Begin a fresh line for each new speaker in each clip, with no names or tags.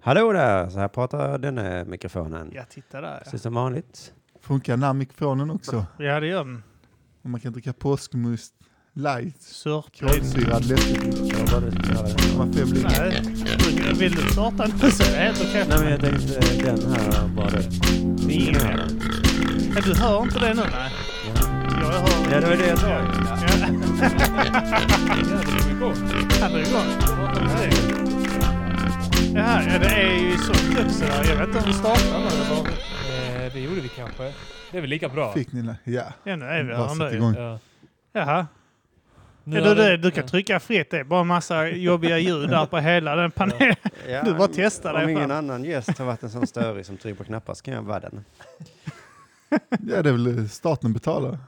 Hallå där, så här pratar denna mikrofonen.
Jag tittar där.
Precis som vanligt.
Funkar den här mikrofonen också?
Ja, ja det gör den.
Och man kan dricka påskmust light,
Sörplöjd.
kolsyrad läskedryck. Man får bli-
Nej, vill du starta en pussel? Det är helt okej.
Nej men jag tänkte eh, den här var det.
Ingen mer. Men Du hör inte det nu? Nej. Jag hör.
Ja, det var det jag sa.
Ja. Han är igång. Ja, ja, det är ju så klipps där. Jag vet inte om vi startar nu eller vad.
Eh, det gjorde vi kanske. Det är väl lika bra.
Fick ni det? Ja.
Ja, nu är vi
Bara
här
sätt
ändå.
igång.
Ja.
Jaha.
Nu
Ja,
har
du, du,
det-
du kan
ja.
trycka fritt. Det är bara en massa jobbiga ljud där på hela den panelen.
Ja,
Du bara testar
Om
dig
ingen
fram.
annan gäst har varit en sån störig som trycker på knappar så kan jag vara den.
ja, det är väl staten betalar.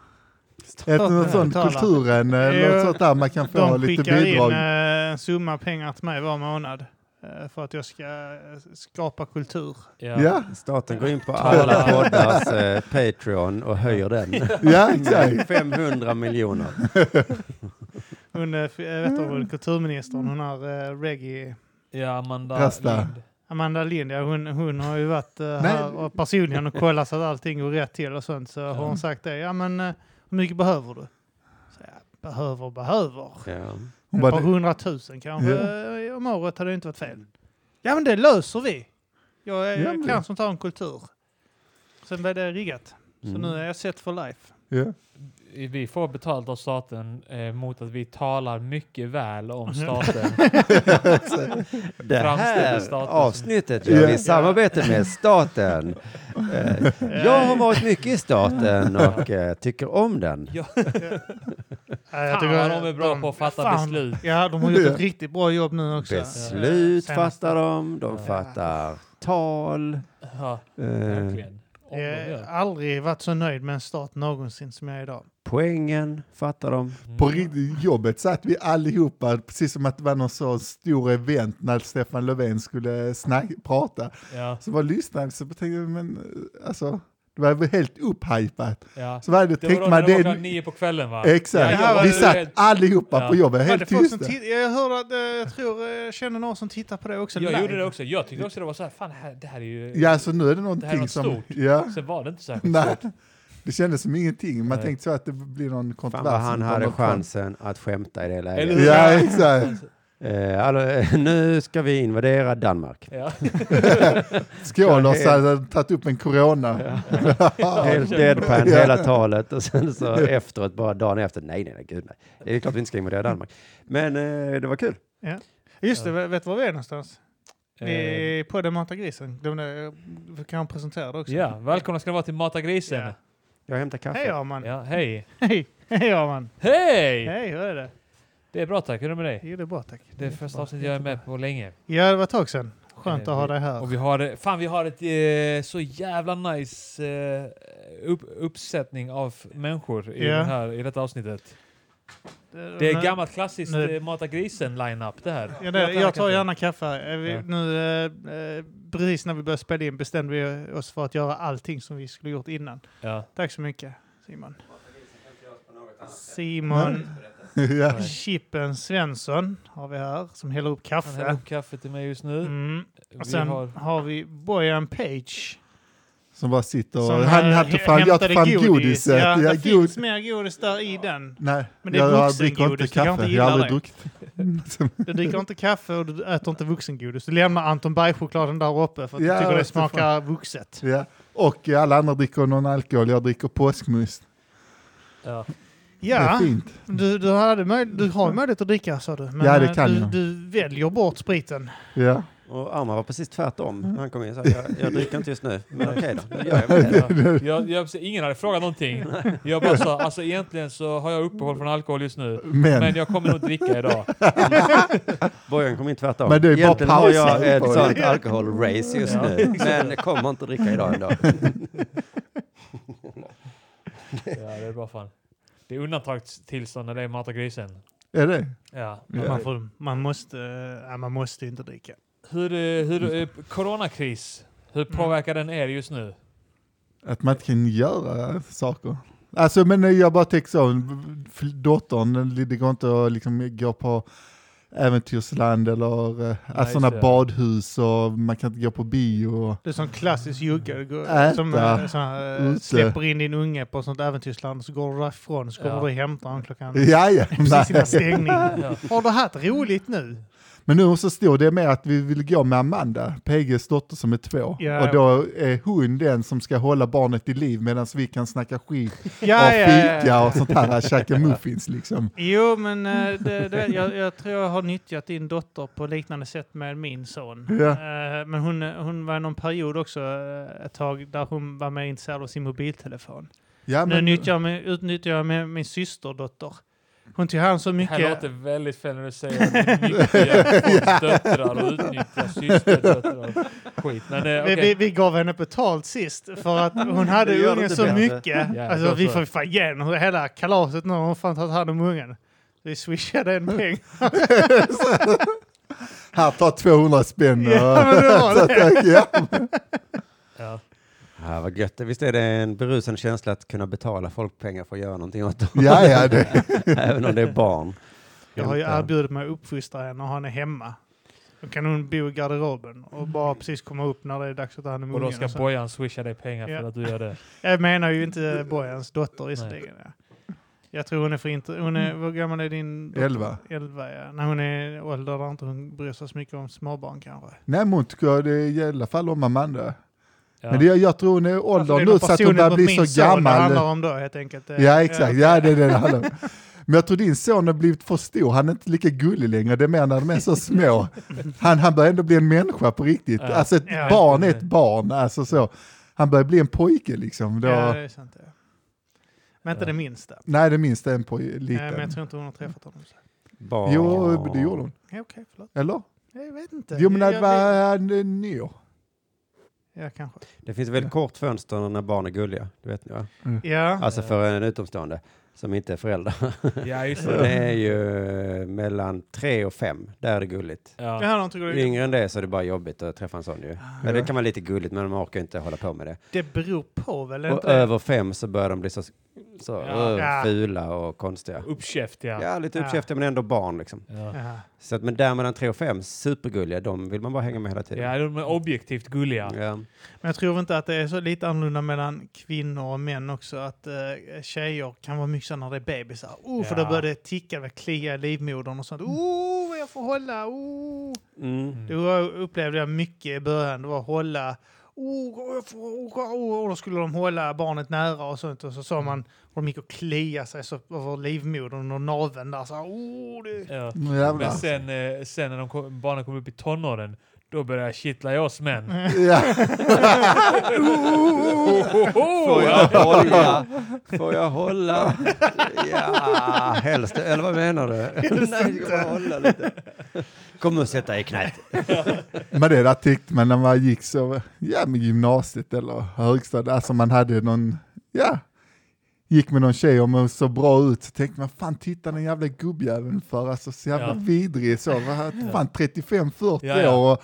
Är det något sånt
betalar.
kulturen, eh,
Jo,
något sånt där man kan få
De
lite
skickar in eh,
bidrag?
en summa pengar till mig var månad eh, för att jag ska eh, skapa kultur.
Ja.
Ja,
Staten går in på alla poddars eh, Patreon och höjer den.
ja exakt.
500 miljoner.
Hon, eh, f- eh, vet
Mm.
du, hon, kulturministern, hon har eh, reggae...
ja, Amanda
Rasta.
Lind.
Amanda Lind, ja, hon, hon har ju varit eh,
Nej.
här och personligen och kollat så att allting går rätt till och sånt. Så har hon sagt det. Ja, men eh, hur mycket behöver du? Så, jag, behöver och behöver.
Ja.
Ett
Hon
par
bara,
hundratusen kanske eh, om året hade det inte varit fel. Ja, men det löser vi. Jag, är,
Ja, men-
jag kan sånt här om kultur. Sen blev det riggat. Så
Mm.
nu är jag set for life.
ja.
Vi får betalt av staten eh, mot att vi talar mycket väl
Mhm.
om staten.
Det
Framställer
här
staten som-
avsnittet gör vi
Ja.
i samarbete med staten. Eh, Jag har varit mycket i staten och eh, tycker om den.
Ja, jag
Fan
tycker
vad
att
de är bra på att fatta
fan.
beslut.
Ja, de har gjort ett riktigt bra jobb nu också.
Beslut
Ja.
fattar de, de
Ja.
fattar tal.
Ja,
Eh,
verkligen. Om de
Jag
gör.
har aldrig varit så nöjd med en stat någonsin som jag är idag.
Poängen fattar de.
Mm.
På riktigt, jobbet satt vi allihopa, precis som att det var någon så stor event när Stefan Löfven skulle snack, prata.
Ja,
Så var lyssnade så tänkte jag, men eh, alltså, det var väl helt upphypat.
ja.
Så var det,
Det var
tänkte
då när
man,
det
det
var
är
klockan nio på kvällen va?
Exakt.
Ja, jag var-
vi satt allihopa
Ja.
på jobbet,
Var
helt
det folk som
tysta.
titt- jag hörde att, eh, jag tror, eh, jag känner någon som tittar på det också.
Jag
live.
gjorde det också. Jag tyckte också det var så här, fan det här, det här är ju...
Ja, så nu är det
Det här är
någonting
något
som...
stort.
Ja,
Sen var det inte särskilt
nej.
stort.
Det kändes som ingenting. Man
Nej.
tänkte så att det blir någon
Fan
kontrovers.
vad han
som
hade
kommer fram.
chansen att skämta i det
Eller
läget.
hur?
Ja, exakt.
Eh, Alltså, nu ska vi invadera Danmark.
Ja.
Skål och så hade han tagit upp en corona.
Helt deadpan hela talet och sen så efteråt, bara dagen efter, nej, nej, nej, gud nej. Det är klart vi inte ska invadera Danmark. Men eh, det var kul.
Just det, vet du var vi är någonstans?
Eh,
Vi är på den Mata Grisen. De där, eh, vi kan presentera det också.
ja, välkomna ska ni vara till Mata Grisen.
Ja.
Jag hämtar kaffe.
Hej Arman!
Ja, hej.
Hej! Hej Arman!
Hej!
Hej, hur är det?
Det är bra tack, hur är det med dig?
Jo, det är bra tack.
Det är första avsnittet jag är med på länge.
Ja, det var ett tag sedan. Skönt
Eh,
att ha
vi-
dig här.
Och vi har, fan vi har ett eh, så jävla nice eh, upp, uppsättning av människor i,
Ja.
den här, i detta avsnittet. Det är gammalt klassiskt
nu-
eh, Mata Grisen-line-up det här.
Ja, det, jag tar gärna kaffe. Eh, Vi,
Ja.
Nu, eh, eh, precis när vi började spela in bestämde vi oss för att göra allting som vi skulle gjort innan.
Ja.
Tack så mycket Simon.
Mm.
Simon
ja.
Chippen Svensson har vi här som häller upp
Han häller
kaffe.
upp kaffe till mig just nu.
Mm.
Vi
Och sen
har,
har vi Bojan Page.
Som bara sitter och...
som,
han
eh,
hade fan, jag
hämtade
tog fram godiset.
Ja,
Ja,
det
god,
finns mer godis där i den.
nej,
Men det är
jag, jag
vuxengodis,
dricker
du
inte
kanske
kaffe.
inte
Jag har aldrig
gillar
druckit.
Du dricker inte kaffe och du äter inte vuxengodis. Du lämnar Anton Berg-chokladen där uppe för att
Ja,
du tycker det
vad fan.
smakar vuxet.
Ja. Och alla andra dricker någon alkohol. Jag dricker påskmust.
ja.
Det är
Ja,
fint.
Mm. du, du, hade möj- du har ju möjlighet att dricka sa du. Men
Mm. Ja, det
eh,
kan
du,
jag.
du väljer bort spriten.
Ja.
Och Arman var precis tvärtom.
Mm.
Han kom in och sa, jag, jag dricker inte just nu, men okej då, nu gör jag väl det.
Ja. Jag, jag, ingen hade frågat någonting. Jag bara sa, alltså egentligen så har jag uppehåll från alkohol just nu.
Men,
Men jag kommer nog inte dricka idag.
Bojan kom in tvärtom.
Men det är bara
Egentligen har
pausen
jag ett
på
sånt alkoholrace just
Ja.
nu, men jag kommer inte dricka idag ändå.
Ja, det är bra fan. Det är undantagstillstånd när det är Mata Grisen.
är det?
Ja.
Man, får, man, måste, eh, nej, man måste inte dricka.
Hur, eh, hur, eh, coronakris, hur
Mm.
påverkar den er just nu?
Att man inte kan göra saker. Alltså men jag bara tänker så, dottern det går inte att liksom gå på äventyrsland eller eh, alltså sådana
just det.
badhus och man kan inte gå på bio. Och,
Det är sån klassisk jugge. du går-
Mm. Äta
Som eh, sån här, eh,
ute.
släpper in din unge på sånt äventyrsland så går du därifrån så kommer
Ja.
du och hämtar honom klockan
ja, ja.
precis innan
nej.
stängning.
Ja.
Har du haft roligt nu?
Men nu så står det med att vi vill gå med Amanda, PGs dotter som är två.
Ja.
Och då är hon den som ska hålla barnet i liv medan vi kan snacka skit
Ja,
och
ja, ja,
fika
ja.
och sånt här, käka muffins liksom.
Jo, men eh, det, det, jag, jag tror jag har nyttjat din dotter på liknande sätt med min son.
Ja.
Eh, Men hon, hon var i någon period också eh, ett tag där hon var mer intresserad av sin mobiltelefon.
Ja, men,
Nu nyttjar jag, min- utnyttjar jag min, min systerdotter. Hon tog hand så
Det här
mycket.
låter väldigt fel när du säger att du nyttjar folks döttrar och utnyttjar systerdöttrar. Skit. Men eh,
Vi,
okej.
vi, vi gav henne betalt sist för att hon
Det
hade
gör
ungen
inte
så
bättre.
mycket.
Ja,
alltså
så-
vi
så.
får fan ge henne hela kalaset nu. har Hon fan tagit hand om ungen. Vi swishade en peng.
här, ta 200 spänn. och-
ja, men det var det.
ja.
Ja.
Ja, vad gött. Visst är det en berusande känsla att kunna betala folk pengar för att göra någonting åt dem?
ja, ja, det.
Även om det är barn.
Jag har ju
Hjältar.
erbjudit mig att uppfostra henne och ha henne hemma. Då kan hon bo i garderoben och bara precis komma upp när det är dags att ta hand om
Och då
ungen.
ska
och så.
Bojan swisha dig pengar
alltså. Ja.
för att du gör det.
Jag menar ju inte Bojans dotter visserligen. Ja. Jag tror hon är för inte... Hon är, hur gammal är din dotter?
Elva.
Elva, ja. När hon är ålder där inte hon bryr sig så mycket om småbarn kanske.
Nej, men hon tycker det är i alla fall om Amanda.
Ja.
Men det, jag tror hon är i
Alltså, det
åldern
är
nu
nog
så att hon
personen
börjar
på
bli
min
så
son Det handlar
gammal.
om då helt enkelt. Eh,
Ja, exakt. Ja, det är det det handlar om. Men jag tror din son har blivit för stor, han är inte lika gullig längre, det är mer när de är så små. Han, han börjar ändå bli en människa på riktigt.
Ja.
Alltså ett
Ja,
barn är
inte-
ett barn, alltså så. Han börjar bli en pojke liksom. Då,
Ja, det är sant. Ja. Men inte
Ja.
det minsta.
Nej, det minsta är en pojke,
Eh, Men
liten.
jag tror inte hon har träffat honom. Så.
Barn.
Jo, det gjorde hon.
Ja, Okej, förlåt.
Eller?
Jag vet inte.
Jo, men
Jag-
det
jag-
var han är ny.
Ja, kanske.
Det finns ett väldigt kort fönster när barn är gulliga. Det vet ni va?
Mm.
Ja.
Alltså för en utomstående som inte är föräldrar.
Ja, just
Så
det.
det är ju eh, mellan tre och fem. Där är det gulligt.
Det
Ja.
här har inte gått-
Ju Yngre än det så är det bara jobbigt att träffa en sån ju. Men det kan vara lite gulligt men de orkar inte hålla på med det.
Det beror på väl
Och
inte?
över fem så börjar de bli så, så
Ja.
eh,
Ja.
fula och konstiga.
Uppkäftiga.
Ja, lite
Ja.
uppkäftiga men ändå barn liksom.
Ja.
Ja.
Så att, men där mellan tre och fem, supergulliga, de vill man bara hänga med hela tiden.
ja, de är objektivt gulliga.
Ja.
Men jag tror inte att det är så lite annorlunda mellan kvinnor och män också. Att eh, tjejer kan vara mycket så när det är bebisar. Oh, för då
Ja.
börjar det ticka, det klia i livmodern och sånt. Oh, jag får hålla. Oh.
Mm.
Det var- upplevde jag mycket i början. Det var hålla. Oh, jag får, oh, oh, och då skulle de hålla barnet nära och sånt. Och så
Mm.
sa man, och de gick och klia sig så över livmodern och naveln där. Så, här, oh, det...
Ja.
Nu
Men
jävlar.
sen, eh, sen när de kom, barnen kom upp i tonåren, då börjar jag kittla i oss män.
Mm.
Ja.
Får jag hålla? Får jag hålla? Ja, helst. Eller vad menar du? Nej, jag ska bara hålla lite. Kom och sätt dig i knät.
Men det där tyckte man när man gick så, ja med gymnasiet eller högstadiet, alltså man hade någon, ja, gick med någon tjej och man såg bra ut, så tänkte man fan titta den jävla gubbjäveln för, alltså så jävla
Ja.
vidrig så, va? fan 35-40
Ja, ja.
år och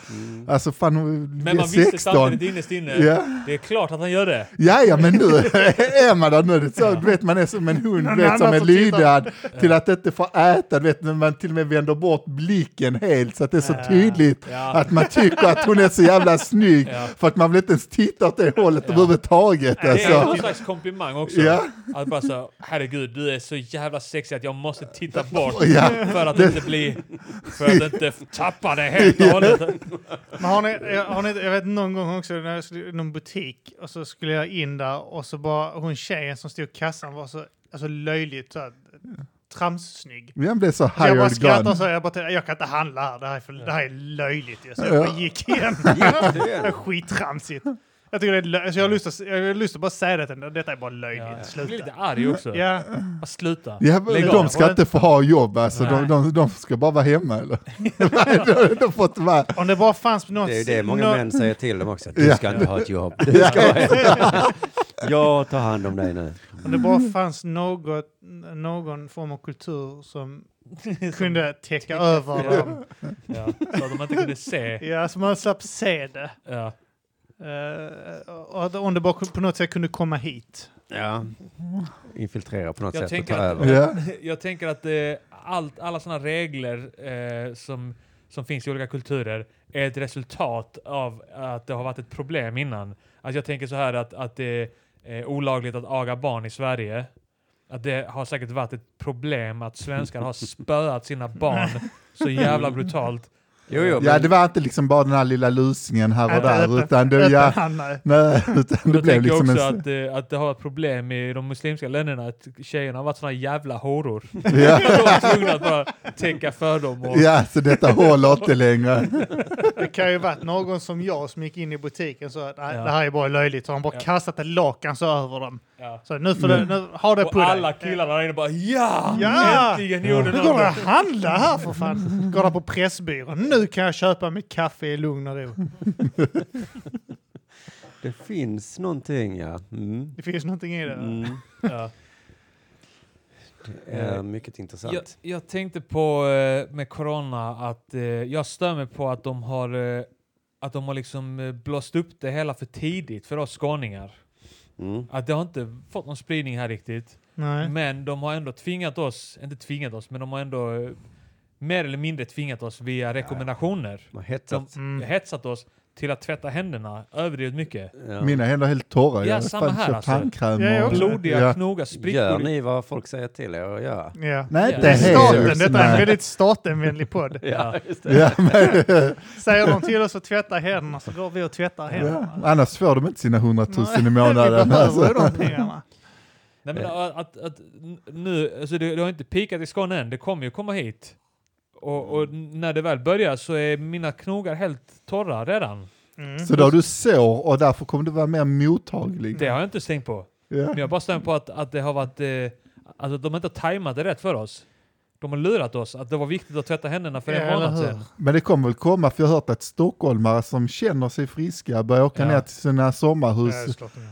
alltså fan hon
Men man visste
16.
samtidigt innerst inne,
Ja.
det är klart att han gör det.
Ja, ja, men nu är man där nu. Det är så, du vet, man är som en hund,
Någon
du vet, som
annan
är
som tittar.
lydad till att inte få äta. Du vet, när man till och med vänder bort blicken helt så att det är så
Ja.
tydligt
Ja.
att man tycker att hon är så jävla snygg
Ja.
för att man vill inte ens titta åt det hållet
Ja.
överhuvudtaget.
Det är någon
Alltså.
slags komplimang också.
Ja.
Att bara så, herregud, du är så jävla sexig att jag måste titta bort
Ja.
för att inte bli... För att inte tappa det helt och hållet.
Men har ni, jag- har ni, jag vet någon gång också när jag skulle i någon butik och så skulle jag in där och så bara hon tjejen som stod i kassan var så alltså löjligt så här, tramssnygg.
Vem blev så
Så jag bara
hired
skrattar
gun?
så jag bara tänkte, jag kan inte handla här, det här är, för, det här är löjligt ju. Så jag bara gick igen. Det är skittramsigt. Jag tycker det är lö- så jag har lust att, jag har lust att bara säga det till henne, detta är bara löjligt,
Ja. Jag blir
sluta.
lite arg också.
Ja,
Bara sluta.
Ja, men
Lägg av.
de ska
Håll
inte få ha jobb, alltså. de,
Nej.
de, de ska bara vara hemma. Eller? de, de får inte vara...
om det bara fanns något...
Det är ju det många
nå-
män säger till dem också. Du ska inte ha ett jobb. Du ska vara hemma. Jag tar hand om dig nu.
Om det
Mm.
bara fanns något, någon form av kultur som kunde täcka över dem.
Ja, så att de inte kunde se.
Ja, så man slapp se det.
Ja.
Eh, och att- om det bara på något sätt kunde komma hit.
Ja. Infiltrera på något
Jag
sätt och
tänker
ta
att-
över.
Ja.
Jag tänker att eh, allt, alla sådana regler eh, som, som finns i olika kulturer är ett resultat av att det har varit ett problem innan. Alltså jag tänker så här att, att det är olagligt att aga barn i Sverige. Att det har säkert varit ett problem att svenskar har spöat sina barn så jävla brutalt.
Jo, jo,
Ja, det var inte liksom bara den här lilla lusingen här och
Äta,
där,
äta,
utan det,
Öppen
ja,
hand, nej.
nej, utan det
Jag
blev
tänker
liksom en...
också att, eh, att det har varit problem i de muslimska länderna att tjejerna har varit såna jävla horor.
Ja,
De var tvungna att bara täcka fördomar. och
ja, så detta håller inte längre.
Det kan ju varit någon som jag som gick in i butiken så att nej,
Ja.
det här är bara löjligt. Så han bara
Ja.
kastat ett lakan så över dem.
Ja.
Så nu får du, nu, ha det på
Och alla
dig.
killarna där inne bara ja!
Ja!
Äntligen gjorde
Nu
de
går det
det!
att handla här för fan. Går det på Pressbyrån. Nu kan jag köpa mitt kaffe i lugn och ro.
Det finns någonting, ja. Mm.
Det finns någonting i det.
Mm.
Ja.
Det är mycket intressant.
Jag, jag tänkte på eh, med corona att eh, jag stör mig på att de har eh, att de har liksom eh, blåst upp det hela för tidigt för oss skåningar.
Mm.
Att det har inte fått någon spridning här riktigt.
Nej.
Men de har ändå tvingat oss, inte tvingat oss, men de har ändå eh, mer eller mindre tvingat oss via rekommendationer.
Man hetsar.
De
Mm.
hetsat oss till att tvätta händerna överdrivet mycket.
Ja.
Mina händer är helt torra.
Ja,
Jag har
samma
fan
här
köpt
alltså.
tandkräm
Ja, jag
och...
också.
Blodiga
Ja.
knogar,
Gör
sprickor i
ni vad folk säger till er att göra?
Ja.
Nej, inte
Ja.
Staten,
helt.
detta är en
nej.
väldigt statenvänlig podd.
Ja, just det.
Ja, men,
Säger de till oss att tvätta händerna så går vi och tvättar
ja.
händerna.
Annars får de inte sina
Nej,
hundratusen i
Vi
månaden.
behöver ju
Alltså.
de pengarna.
Nej, men att, att, att n- nu, alltså det, det har inte pikat i Skåne än, det kommer ju komma hit. Och, och när det väl börjar så är mina knogar helt torra redan.
Mm.
Så då har du sår och därför kommer du vara mer mottaglig.
Det har jag inte tänkt på.
Ja.
Men jag har bara stämt på att, att det har varit, eh, alltså att de inte har tajmat det rätt för oss. De har lurat oss att det var viktigt att tvätta händerna för en
Ja, eller
månad
hur?
sedan.
Men det kommer väl komma, för jag har hört att stockholmare som känner sig friska börjar åka
Ja.
ner till sina sommarhus.
Ja, det är klart de gör.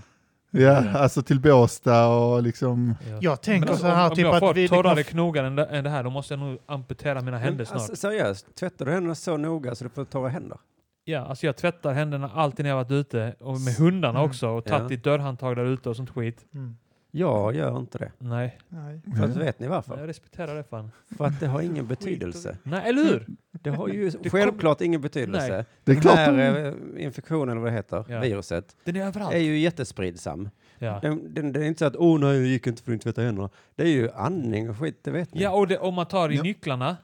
Ja, alltså till Båstad och liksom...
Jag
Men
tänker
alltså,
så här,
om,
typ
om jag
att
får
vi...
torrare knogar än det, än det här, då måste jag nog amputera mina händer
Men,
snart.
Alltså, seriöst, tvättar du händerna så noga så du får torra händer?
Ja, alltså jag tvättar händerna alltid när jag varit ute, och med hundarna
Mm.
också, och
Ja.
tagit i dörrhandtag där ute och sånt skit.
Mm.
Jag gör inte det.
Nej,
Nej.
För att, vet ni
men
varför?
jag respekterar det fan.
För att det har ingen betydelse.
Nej, eller hur?
Mm.
Det har ju
Det kom-
självklart ingen betydelse.
Nej.
Det är
Den
klart
här
de-
eh, infektionen, eller vad det heter,
Ja.
viruset,
Den är överallt.
är ju jättespridsam.
Ja.
Den, den, det är inte så att åh nej, jag gick inte för att inte tvätta händerna. Det är ju andning och skit, det vet ni.
Ja, och det, om man tar i
Ja.
nycklarna,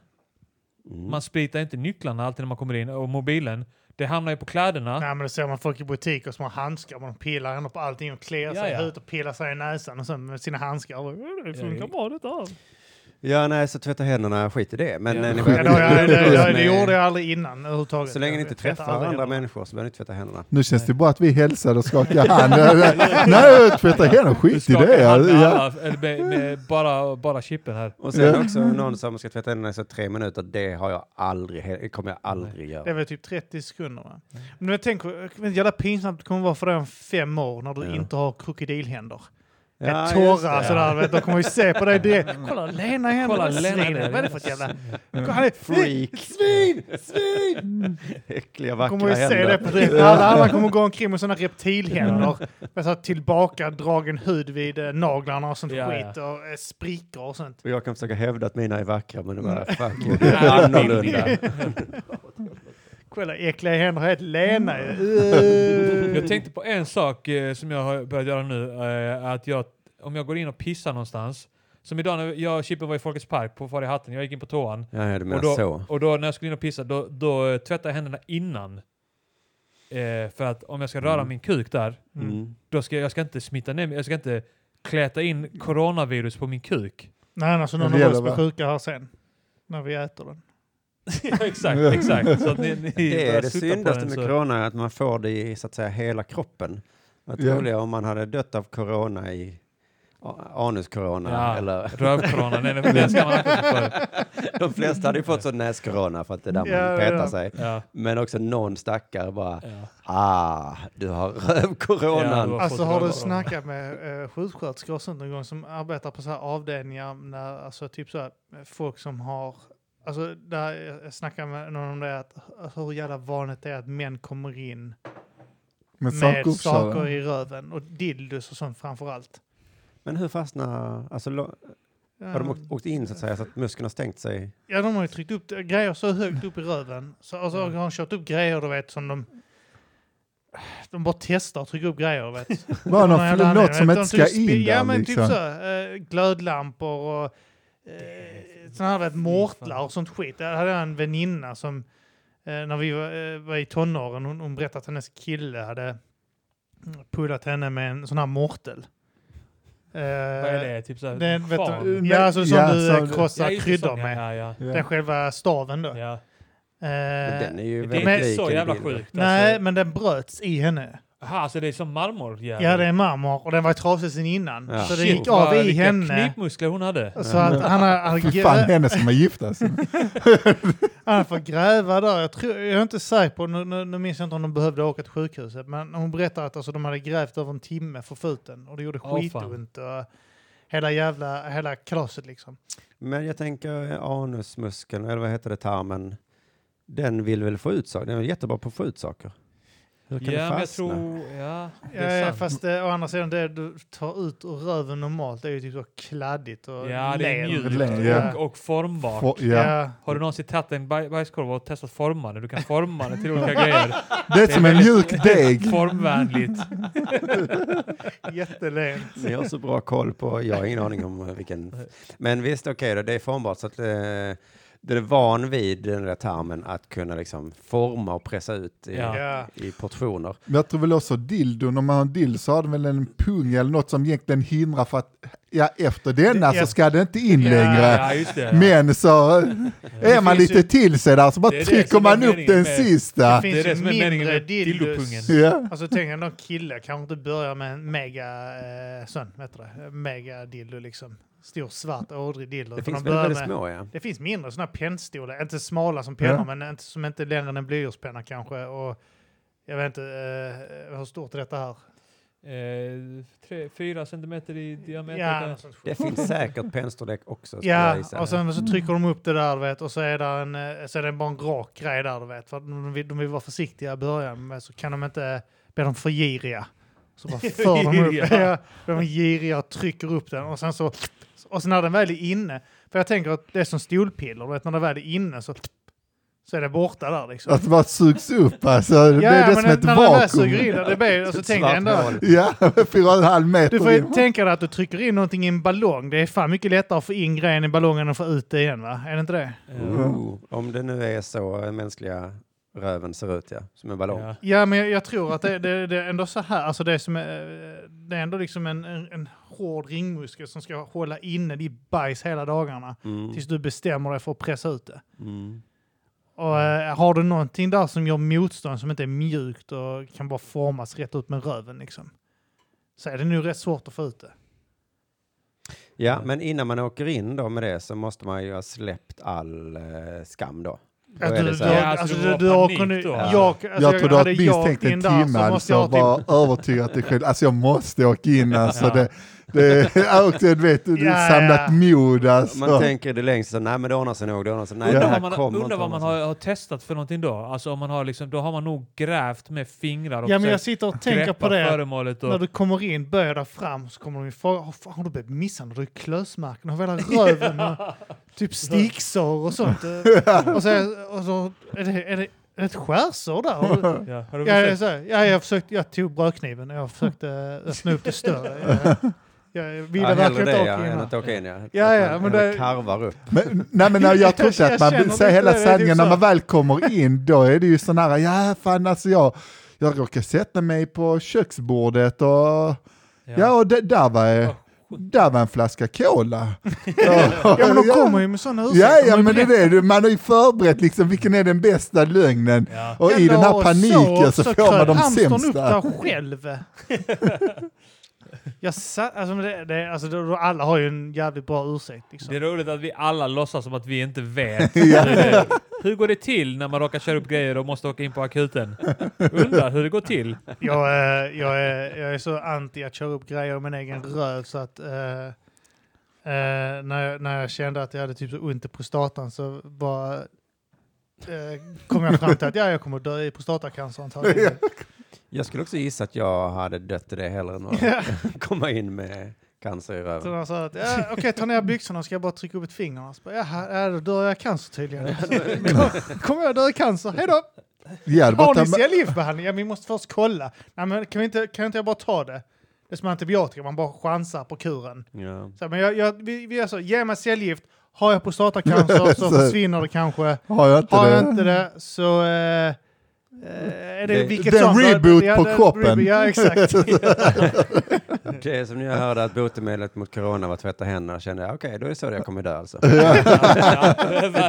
Mm.
man spritar inte nycklarna alltid när man kommer in, och mobilen, det hamnar ju på kläderna.
Nej, men då ser man folk i butiker som har handskar och de pillar ändå på allting och kliar sig i
Ja, ja.
huvudet och pillar sig i näsan och sen med sina handskar. Och, bara, det funkar
Ja,
bra detta här.
Ja, nej, så tvätta händerna, skit i det. Men
Ja.
eh, ni
Ja,
Ja,
behöver
det, har jag- det,
inte-
det, det gjorde jag aldrig innan överhuvudtaget.
Så länge ni
Jag
inte
tvättar
träffar andra
aldrig händerna.
människor så behöver ni inte tvätta händerna.
Nu känns det bara att vi hälsar och skakar hand. Nej, tvätta händerna, skit i det.
hand med
Ja.
alla, eller med, med bara, bara chippen här.
Och sen också någon som ska tvätta händerna i så tre minuter, det har jag aldrig, he- det kommer jag aldrig
Det
göra.
var typ 30 sekunder. Va?
Mm.
Men jag tänker, hur jävla pinsamt det kommer vara för dig om fem år när du
Ja.
inte har krokodilhänder.
Ja,
Ja,
just
torra
det. Mm.
sådär, vet, de kommer ju se på dig direkt. Kolla Lena händer, vad
Kolla,
är det
Lena
svin?
där.
Vad är det för ett jävla... Han är,
Freak.
Svin! Svin!
Äckliga
De
vackra
Mm. kommer ju se det på
händer.
direkt. Alla andra kommer gå omkring med sådana reptilhänder. Med så här tillbakadragen hud vid eh, naglarna och sånt
Ja, ja.
skit. Och eh, sprickor och sånt.
Och jag kan försöka hävda att mina är vackra, men
Mm.
de är fuck you.
Nej.
annorlunda.
Kolla äckliga händer, helt Lena ju.
Jag tänkte på en sak eh, som jag har börjat göra nu. Eh, att jag, om jag går in och pissar någonstans. Som idag när jag och Chippen var i Folkets Park på Far i hatten. Jag gick in på toan.
Ja, ja, du menar
Och då,
så.
och då när jag skulle in och pissa, då, då eh, tvättade jag händerna innan. Eh, för att om jag ska röra
Mm.
min kuk där,
Mm.
då ska jag, jag ska inte smitta ner mig. Jag ska inte kläta in coronavirus på min kuk.
Nej, annars är
Det
någon av
gäller
oss blir
bara-
sjuka här sen. När vi äter den.
exakt, exakt. Så att ni, ni
Det
börjar
är det
sutta på
syndaste
den,
med
så-
corona, att man får det i så att säga hela kroppen. Vad
Ja.
roligare om man hade dött av corona i a- anuscorona
Ja.
eller
Rövcoronan, den, den ska man akta sig för.
de flesta hade ju fått så näscorona för att det är där man
Ja, ja,
petar
ja.
sig.
Ja,
Men också någon stackare bara,
ja.
ah, du har
Ja,
rövcoronan.
du har-
Alltså
fått
har
röra
du
dem.
snackat med eh, sjuksköterskor och sånt någon gång som arbetar på så här avdelningar när, alltså typ så här, eh, folk som har, alltså där jag- jag snackade med någon om det, att alltså, hur jävla vanligt det är att män kommer in
Men
med saker
sakuppkörare.
i röven och dildos och sånt framför allt.
Men hur fastnar, alltså lo- Har de åkt, åkt in så att säga så att muskeln har stängt sig?
Ehm,
Eh,
Ja, de har ju tryckt upp det- grejer så högt upp i röven. Så, och så har de kört upp grejer, du vet, som de... De bara testar att trycka upp grejer, vet.
Bara
Av
någon,
jävla
fl- något
anledning.
som
De
inte ska
typ spe-
in
Ja,
där
men
liksom.
typ så. Eh, glödlampor och eh, sådana här vet, mortlar och sånt skit. Där hade jag en väninna som, eh, när vi var, eh, var i tonåren, hon, hon berättade att hennes kille hade pullat henne med en sån här mortel. Eh,
Vad är det? Typ såhär...
Den, vet
fan.
du,
Eh,
ja, alltså, som
ja,
du
som-
eh, krossar
Ja, just det,
kryddor
sån, ja,
med.
Ja,
Den själva staven då.
ja. ja.
Men
Eh,
den är ju
Det
väldigt
är
lik
så
en
jävla
bild.
sjukt.
nej,
alltså.
men den bröts i henne.
Aha, så det är som marmor?
Ja, det är marmor och den var trasig sen innan.
Ja.
Så det
Shit,
gick av
vad-
i
vilka
henne.
knipmuskler hon hade.
Så att han har, han,
Fy fan,
grä,
henne som har gift alltså.
han får gräva där. Jag, tror, jag är inte säker på, nu, nu, nu minns jag inte om de behövde åka till sjukhuset, men hon berättar att alltså, de hade grävt över en timme för foten och det gjorde
Åh,
skitont. och hela jävla, hela kalaset liksom.
Men jag tänker eh, anusmuskeln, eller vad heter det, tarmen. Den vill väl få ut saker? Den är jättebra på att få ut saker. Hur kan
Ja,
det
men jag
fastna?
tror... Ja, det är
Ja,
sant.
fast eh, å andra sidan, det du tar ut ur röven normalt det är ju typ så kladdigt och
Ja, det är
len.
Len,
mjukt
ja.
och, och formbart.
Få- ja.
Ja.
Har du någonsin tagit en baj- bajskorv och testat forma den? Du kan forma den till olika grejer.
Det är som en mjuk deg.
Formvänligt.
jättelen.
Ni har så bra koll på, jag har ingen aning om eh, vilken. Men visst, okej då, det är formbart. Så att, eh, den är van vid den där tarmen att kunna liksom forma och pressa ut i,
Ja.
Ja.
i portioner.
Men jag tror väl också dildon, om man har en dildo så har den väl en pung eller något som egentligen hindrar för att, ja efter denna
Ja.
så ska den inte in
Ja,
längre.
Ja, just det.
Men så är man
finns
lite till sig där så bara
Det är det
trycker
som är
man upp
meningen
den
med-
sista.
Det finns
det är det
ju
som är meningen
mindre
med dillopungen.
dildos
Ja.
Alltså tänk en kille kanske inte börjar med en mega eh, sån, vet du det? Mega dildo liksom. Stor svart ådrig dildo.
Det
Utan
finns
de
väl
börjar
väldigt
med-
små, ja.
Det finns mindre sådana pennstora, inte smala som pennor
Ja.
men inte, som inte är längre än en blyertspenna kanske. Och jag vet inte, eh, hur stort är detta här?
Eh, tre, fyra centimeter i diameter.
Ja,
kanske.
något sånt skit.
Det finns säkert pennstorlek också. skulle jag
ja
gissa.
och sen så trycker de upp det där du vet, och så är, där en, eh, så är det bara en rak grej där du vet. För att de, vill, de vill vara försiktiga i början men så kan de inte, blir de för giriga. Så bara för de upp,
Giriga.
ja, de är giriga och trycker upp den och sen så, och sen när den väl är inne, för jag tänker att det är som stolpiller, du vet när den väl är inne så, så är det borta där liksom.
Att det bara sugs upp alltså. det
Ja,
är
ja,
det
men
som ett
när den väl suger in
vakuum.
den, det blir, alltså,
Ett
tänk dig
svart
ändå.
hål.
Ja, fyra och en halv
Du
meter
får ju
in.
tänka dig att du trycker in någonting i en ballong. Det är fan mycket lättare att få in grejen i ballongen än att få ut det igen va? Är det inte det?
Eh,
Ooh, Uh, Om det nu är så den mänskliga röven ser ut, ja. Som en ballong.
ja.
Ja, men jag, jag tror att det, det, det är ändå så här. Alltså det, är som, eh, det är ändå liksom en, en, en hård ringmuskel som ska hålla inne ditt bajs hela dagarna
Mm.
tills du bestämmer dig för att pressa ut det.
Mm.
Och eh, har du någonting där som gör motstånd som inte är mjukt och kan bara formas rätt ut med röven liksom. Så är det nog rätt svårt att få ut det.
Ja, men innan man åker in då med det så måste man ju ha släppt all eh, skam då. Då
Att
är
du-
det så
du-
här,
Ja,
alltså,
alltså,
du-
det
du
var
har
panik
kunnat-
då.
jag- alltså,
Jag tror det har
hade jag
minst
åkt
tänkt en
in där så
timme,
måste jag
alltså
ha typ- till-
bara övertygat dig själv. Alltså jag måste åka in alltså.
Ja.
Det, det, ja, och du vet, du
Ja, ja.
har samlat mod alltså.
man tänker det längst så nej men det ordnar sig nog, det ordnar sig. Nej, det
Undrar
här
vad man,
kommer
undrar
inte
vad man
ordna sig.
har, har testat för någonting då. Alltså om man har liksom, då har man nog grävt med fingrar och
Ja, men jag
försökt
sitter och tänker på
greppa
det.
föremålet. Och,
När du kommer in, böjer dig fram, så kommer de ju fråga "Har fan, har du blivit misshandlad? Har du klösmärken över hela röven? och Typ sticksår och sånt. och, så, och så är det, är det är det ett skärsår där. Och,
ja, har du
ja, jag,
försökt?
så, här, ja, jag, försökte, jag tog brödkniven och jag försökte öppna upp det större. Jag, jag ville
ja, hellre
verkligen
det
inte
ja,
åka in
än
här.
att åka in ja.
Ja, ja,
Att man,
men
man
det-
karvar upp.
Men, nej men jag tror inte
Jag
att man
känner
vill säga
lite
hela
det, det är typ
sanningen. När
så.
man väl kommer in då är det ju sån här, ja fan alltså jag, jag råkade sätta mig på köksbordet och ja, och det, där, var, där var en flaska cola. ja
Ja, men de kommer ju med sådana ursäkter.
Ja, ja
De
men det är det. Man har ju förberett liksom vilken är den bästa lögnen.
Ja.
Och i
Jävla
den här
och
paniken så, får man
kröp
de
hamstern upp
sämsta.
där själv. jag sa, alltså, men det, det, alltså, det, alla har ju en jävligt bra ursäkt. Liksom.
Det är roligt att vi alla låtsas som att vi inte vet.
Ja.
hur det- Hur går det till när man råkar köra upp grejer och måste åka in på akuten? Undrar hur det går till.
Jag, eh, jag, är, jag är så anti att köra upp grejer i min egen röv så att eh, eh, när, jag, när jag kände att jag hade typ så ont i prostatan så bara eh, kom jag fram till att ja, jag kommer dö i prostatacancer antagligen.
Jag skulle också gissa att jag hade dött i det hellre än att komma in med cancer i
Så
röven.
de sa att, ja, okej, ta ner byxorna ska jag bara trycka upp ett finger. Och Så bara, Jaha, ja, då dör jag i cancer tydligen. Så, "Kom- Kommer jag dö i cancer? Hej då!
Jag hade
Har
bara
ni
tagit med-
cellgiftsbehandling? Ja, vi måste först kolla. Nej, men kan, vi inte, kan inte jag bara ta det? Det är som antibiotika, man bara chansar på kuren.
Ja.
Så, här, men jag, jag, vi, vi gör så, ge mig cellgift. Har jag prostatacancer så
Så-
försvinner det kanske.
har jag inte
Har
det?
jag inte det så... Eh, eh, är det,
Det-
vilket
det är en
som-
reboot
Ja,
på
det är en
kroppen.
reboot, Ja, exakt.
Det är som när jag hörde att botemedlet mot corona var att tvätta händerna kände jag, okej, då är det så jag kommer dö alltså.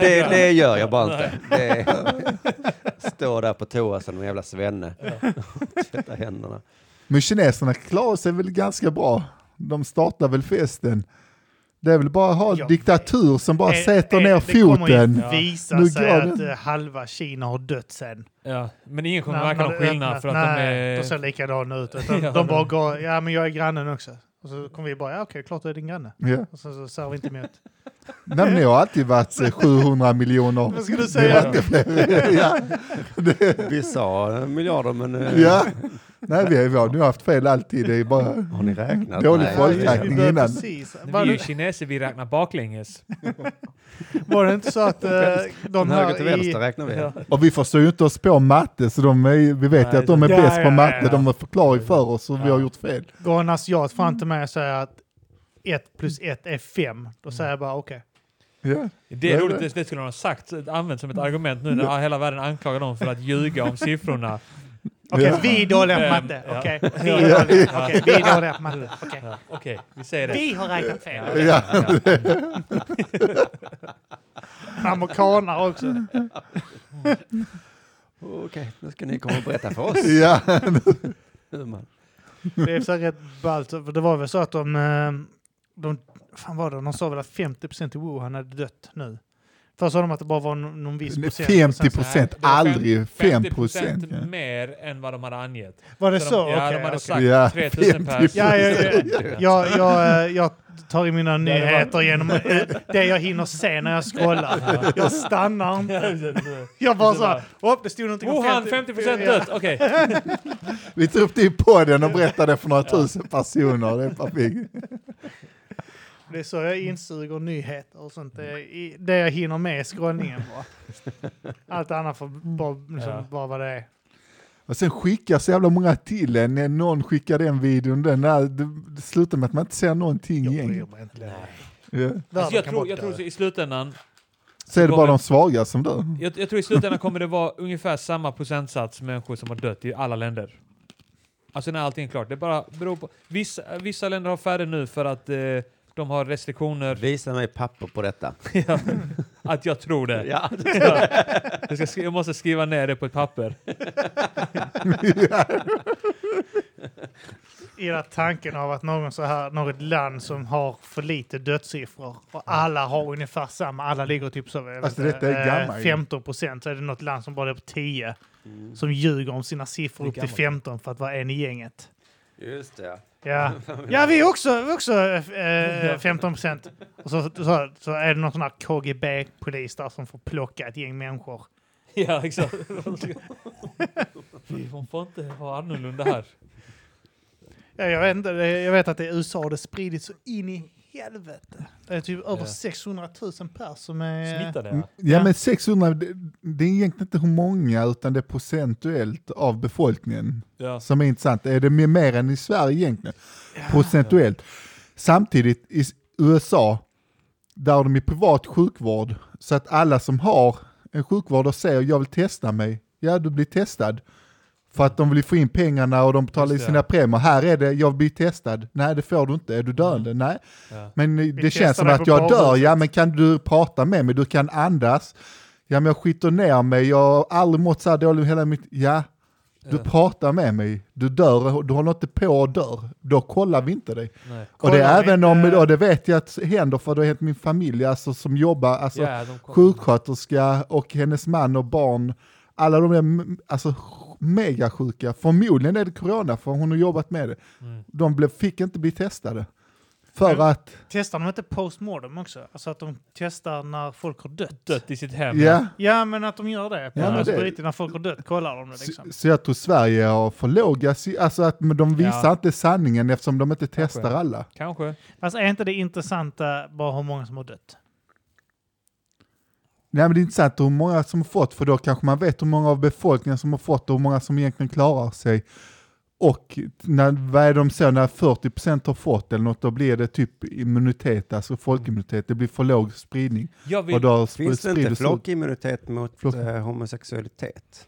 det, det gör jag bara inte. Det, står där på toa som en jävla svenne. Tvätta händerna.
Men kineserna klarar sig väl ganska bra. De startar väl festen. Det är väl bara att ha
Jag
diktatur som bara
Eh,
sätter
eh,
ner
Det
foten.
kommer ju visa
Nu
sig
går
att
den.
eh, halva Kina har dött sen.
Ja, men ingen kommer
När-
märka
när
någon
det
skillnad
öppnar.
för att de
Nej,
är...
de ser likadana ut. Utan
Ja,
de bara
men-
går, ja men jag är grannen också. Och så kommer vi bara, ja okej, klart du är din granne.
Ja.
Och så, så ser vi inte emot.
Nej, men jag har alltid varit eh, 700 miljoner.
Vad ska du
Det var
säga?
inte fler. ja. Det,
Vi sa eh, miljarder, men eh,
ja. Nej, vi har- vi har nu haft fel alltid. Det är bara...
har ni räknat?
Dålig
Nej.
folkräkning.
vi började
innan.
Precis.
Vi
Var,
är ju
det,
kineser, vi räknar baklänges.
var det inte så att eh, de
Från höger till
här
vänster
i...
räknar vi.
Ja.
Och vi förstår ju inte oss på matte, så de är, vi vet ju
Nej,
att de är
ja,
bäst
ja,
på matte.
ja.
De har förklarat för oss och vi har gjort fel.
Går en asiat fram till mig och säger att ett plus ett är fem. Då säger jag bara okej.
Ja.
Det är roligt, det- det skulle de ha sagt, använt som ett argument nu när hela världen anklagar dem för att ljuga om siffrorna.
Okej,
Ja.
vi är dåliga på
Fem,
matte.
ja.
Okej, vi är dåliga- okej, vi är dåliga på matte. Okej.
Ja, Okej, vi säger det.
Vi har räknat fel.
Ja.
Amerikanare också.
Okej, nu ska ni komma och berätta för oss
Ja.
hur man...
Det är så här rätt ballt. För det var väl så att de... eh, de fan var det? De sa väl att 50% i Wuhan hade dött nu. Först sa de att det bara var någon, någon viss procent. och sen
50
så-
procent,
Nej, det var fem-
aldrig 5 procent.
procent mer än vad de hade angett.
Var det
de,
så?
Ja,
Okej,
de hade
okej.
sagt
Ja,
3000 pers.
50%.
Ja, ja, ja. Jag, jag, eh, jag tar i mina nyheter genom eh, det jag hinner se när jag scrollar. Jag stannar inte. Jag bara så här, "Hopp, det stod någonting
Wuhan 50 procent
Ja.
dött, okej.
Vi tog upp det i podden och berättade för några tusen personer. Det är perfekt.
Det är så jag insuger nyheter och sånt. Det, är i- det jag hinner med i scrollningen bara. Allt annat får bara, liksom,
Ja.
bara vad det är.
Och sen skickar så jävla många till en. Någon skickar den videon, den där. Det- Det slutar med att man inte ser någonting
Jag
gäng.
bryr mig inte längre.
Ja.
Alltså,
Världen
jag
kan
tror,
bara
jag tror
dö.
så i slutändan
Så är det bara de svaga som dör.
jag, jag tror i slutändan kommer det vara ungefär samma procentsats människor som har dött i alla länder. Alltså när allting är klart. Det bara beror på. Vissa, vissa länder har färre nu för att eh, de har restriktioner.
Visa mig papper på detta.
Ja, att jag tror det.
Ja,
Ja. Jag, ska skri- jag måste skriva ner det på ett papper.
I den här tanken av att någon så här, något land som har för lite dödssiffror och alla har ungefär samma, alla ligger typ så, jag
Alltså,
vet inte,
detta
eh,
är gammal ju.
15 procent, så är det något land som bara är på 10 som ljuger om sina siffror
Det är
upp till
gammalt.
15 för att vara en i gänget.
just det.
Ja, ja vi är också, vi är också eh, 15 procent. Och så, så, så är det någon sån här KGB-polis där som får plocka ett gäng människor.
Ja, exakt. Fy, Hon får inte vara annorlunda här.
Ja, jag, vet inte, det- jag vet att i USA har det spridits så in i helvete. Det är typ över
Ja.
600 000 personer som är...
Smittade ja.
Mm. Ja men 600, det, det är egentligen inte hur många utan det är procentuellt av befolkningen
ja.
som är intressant. Är det mer än i Sverige egentligen? Procentuellt. Samtidigt i s- USA, där har de ju privat sjukvård, så att alla som har en sjukvård och säger jag vill testa mig, ja du blir testad. För att de vill ju få in pengarna och de betalar in
Just det.
sina premier. Här är det, jag blir testad. Nej det får du inte, är du döende?
Mm.
Nej.
Ja.
Men eh, det
testar
känns som
dig
att
på
jag dör,
badhuset.
ja men kan du prata med mig, du kan andas. Ja men jag skiter ner mig, jag har aldrig mått så här dåligt hela mitt... Ja, du
Ja.
pratar med mig, du dör, du håller inte på att dör. Då kollar vi inte dig.
Nej.
Och det,
Kollar
är
vi
även om,
inte-
och det vet jag att händer för det har hänt min familj, alltså som jobbar, alltså
Ja, de kom-
sjuksköterska och hennes man och barn, alla de är m- alltså megasjuka. Förmodligen är det corona, för hon har jobbat med det. De blev, fick inte bli testade. För
Mm. Men-
att,
Testar de inte postmortem också? Alltså att de testar när folk har dött?
Dött i sitt hem.
ja.
Ja, men att de gör det. På
Ja, men
ja,
det-
när folk har dött kollar de det liksom.
Så, så jag tror Sverige har för låga, sy- alltså att de visar
Ja.
inte sanningen eftersom de inte testar alla.
Kanske.
Alltså är inte det intressanta bara hur många som har dött?
Nej men det är intressant hur många som har fått, för då kanske man vet hur många av befolkningen som har fått och hur många som egentligen klarar sig. Och när, vad är de så, när 40% har fått eller något, då blir det typ immunitet, alltså folkimmunitet, det blir för låg spridning.
Jag vill...
Och då
Finns det inte
sprider
flockimmunitet mot
Flock-
eh, homosexualitet?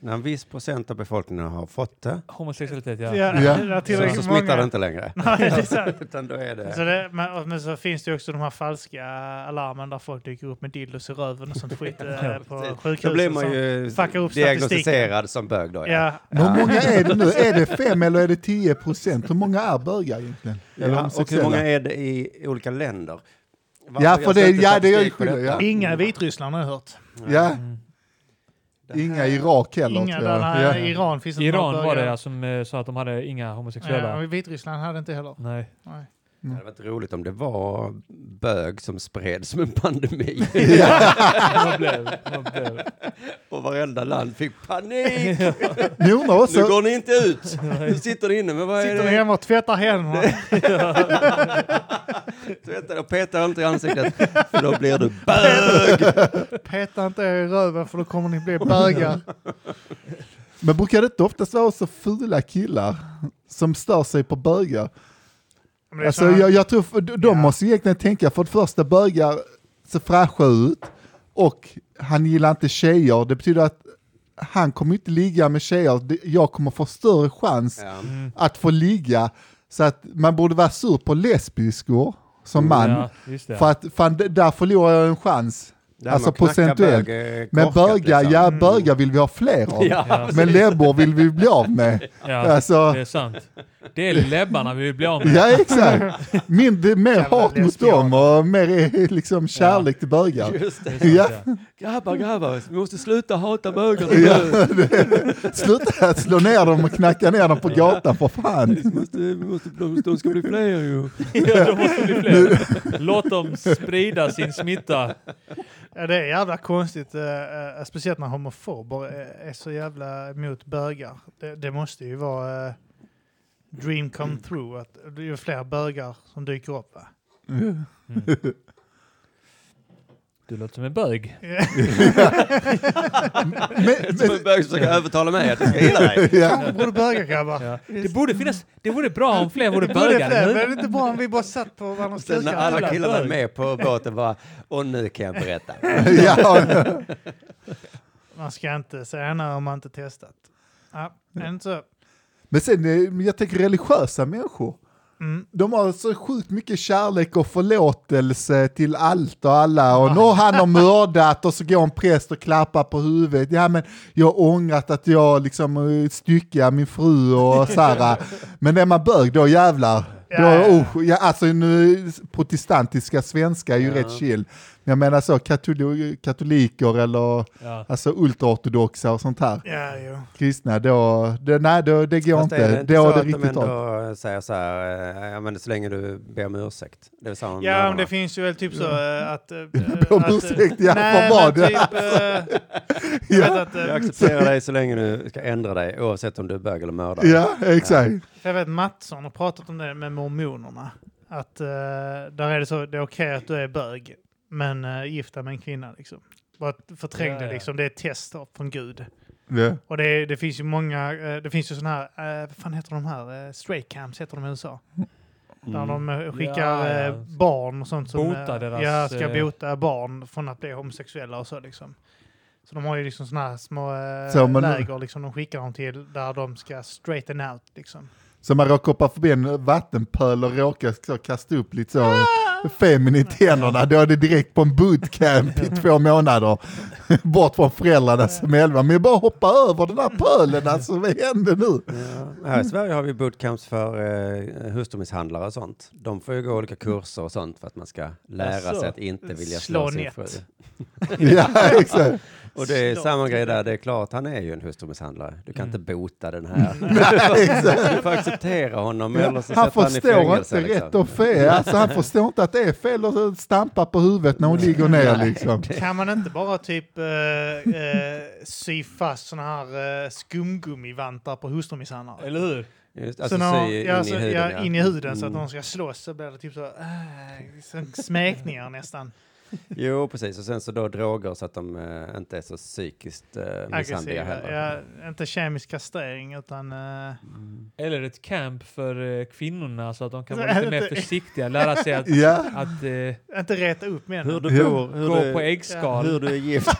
När en viss procent av befolkningen har fått det,
Homosexualitet,
Ja, ja.
ja.
Ja.
det är
så,
tillräckligt
så Alltså,
många.
smittar det inte längre.
Nej, det är sant.
Utan då är
Så
det...
det, men, men så finns det ju också de här falska alarmen där folk dyker upp med dildos i röven och sånt skit eh, på sjukhusen.
Då blir man ju
fuckar upp
diagnostiserad som bög då.
som-
Ja.
ja,
Men Hur många är det nu? Är det 5 eller är det 10 procent? Hur många är bögar egentligen? Eller
Ja, och hur
homosexuella?
många är det i olika länder? Varför
Ja, för
görs
det-
inte
ja, det gör ju
statistik på
skillnad,
detta?
Inga i Vitryssland har jag hört.
Ja,
Mm.
inga i Irak heller
Inga
tror
där,
jag.
nej,
Ja.
Iran finns inte
Iran
några
var det
bögar.
ja, som eh, sa att de hade inga homosexuella.
Ja, och Vitryssland hade inte heller.
Nej.
Nej.
Det hade varit roligt om det var bög som spreds som en pandemi.
Vad blev, vad blev.
och varenda land fick panik.
Ni undrar
Nu
också,
går ni inte ut. Nu sitter ni inne. Men vad är
Sitter
det?
hemma och tvättar händerna.
Tvätta och peta inte i ansiktet. För då blir du bög.
Peta inte er i röven för då kommer ni bli bögar.
men brukar det inte oftast vara så fula killar som stör sig på bögar?
Men det är
Alltså
såna-
jag, jag tror, för de de
Ja.
måste egentligen tänka, för det första bögar ser fräscha ut och han gillar inte tjejer, det betyder att han kommer inte ligga med tjejer, Det- jag kommer få större chans
Ja.
att få ligga. Så att man borde vara sur på lesbiskor som
Mm,
man.
Ja, just det.
För att fan, d- där förlorar jag en chans.
Det här
Alltså
med att knacka
procentuellt.
bög är
Men
korkat,
bögar,
liksom.
ja bögar vill vi ha fler av.
Ja,
Men lebbor vill vi bli av med.
ja,
Alltså,
det är sant. Det är läbbarna vi vill bli av med.
ja exakt. Min, det är mer
Jävla
hat mot dem och mer eh, liksom kärlek till bögar.
Just det.
Ja,
Mm. Grabbar, grabbar, vi måste sluta hata bögar nu.
ja. Sluta slå ner dem och knacka ner dem på gatan för fan.
Vi måste, vi måste, de, de ska bli fler ju.
Ja, de måste bli fler. Låt dem sprida sin smitta.
Ja, det är jävla konstigt, eh, eh, speciellt när homofober eh, är så jävla emot bögar. Det, det måste ju vara eh, dream come true, att det är ju fler bögar som dyker upp. Va?
Du låter som en bög.
Men,
Som en bög som försöker övertala mig att jag ska gilla dig.
ja.
Borde bögar grabbar?
Ja. Det borde finnas, det vore bra om fler vore
Det borde fler, men det är
bögar.
inte bra om vi bara satt på varandras
Sen när
kukar.
alla
jävla
killarna
bög.
med på båten bara, och nu kan jag berätta.
Ja.
Man ska inte säga nej om man inte testat. Ja, är det inte så?
Men sen, eh, jag tänker religiösa människor.
Mm.
De har så sjukt mycket kärlek och förlåtelse till allt och alla. Och nu har han har mördat och så går en präst och klappar på huvudet. Ja men jag har ångrat att jag liksom eh, styckar min fru och så här. Men är man bög då jävlar. Då,
Ja, ja, ja.
usch. ja, alltså nu, protestantiska svenskar är ju rätt chill. Men jag menar så katoli- katoliker eller
Ja.
alltså ultraortodoxa och sånt här.
Ja, jo.
Kristna då, det, nej då, det går
Fast
inte.
är det inte
då
så
är det
att de
riktigt av.
ändå säger så här, eh, ja men så länge du ber om ursäkt. Det är väl samma med
Ja, men
mormonerna.
det finns ju väl typ så eh, att... eh,
Om
att, eh,
ursäkt, ja,
nej,
för vad?
men Typ, eh, jag vet att,
Jag
eh,
accepterar dig så länge du ska ändra dig, oavsett om du är bög eller mördare.
Ja, exakt.
jag vet Mattsson har pratat om det med mormonerna. Att eh, där är det så, det är okej att du är bög, men uh, gifta med en kvinna liksom. Bara förträng
Ja,
det
ja.
liksom, det är ett test från Gud.
Ja.
Och det, är- det finns ju många, eh, det finns ju sådana här, eh, vad fan heter de här, uh, straight camps heter de i USA.
Mm.
Där
Mm.
de eh, skickar
Ja, ja.
eh, barn och sånt som eh,
Bota deras,
ja, ska
eh,
bota barn från att bli homosexuella och så liksom. Så de har ju liksom sådana här små eh,
Så, men-
läger liksom de skickar dem till där de ska straighten out liksom.
Så man råkar hoppa förbi en vattenpöl och råkar så kasta upp lite så
Ah!
feminint i händerna, då är det direkt på en bootcamp i två månader. Bort från föräldrarna som är elva. Men bara hoppa över den här pölen, alltså vad händer nu?
Ja. Här i Sverige har vi bootcamps för eh, hustrumisshandlare och sånt. De får ju gå olika kurser och
Alltså,
sånt för att man ska lära
Jaså?
sig att inte vilja slå,
Slå
sin
nät.
fru.
Ja, exakt.
Och det är
Slå.
samma grej där, det är klart han är ju en hustrumisshandlare. Du kan
Mm.
inte bota den här. du får acceptera honom eller så
Han
sätter han i
förstår
fängelse.
inte
liksom.
rätt och fel. Alltså, han förstår inte att det är fel att stampa på huvudet när hon ligger ner. Liksom.
Kan man inte bara typ eh, eh, sy fast såna här eh, skumgummivantar på hustrumisshandlare?
Eller hur?
Just,
Så
alltså,
när,
sy in,
ja,
i
så-
huden,
ja, in i huden så att
Mm.
de ska slåss så blir det typ så, äh, så smäkningar nästan.
Jo, precis. Och sen så då droger så att de eh, inte är så psykiskt eh, misshandliga
Aggressiva.
heller.
Ja, inte kemisk kastrering utan... eh,
Eller ett camp för eh, kvinnorna så att de kan
Så
vara
är
lite
det
mer
inte-
försiktiga, lära sig att,
Ja,
att eh,
inte reta upp männen.
Hur
Ja.
du bor, hur
gå
du,
på äggskal.
hur du är gift.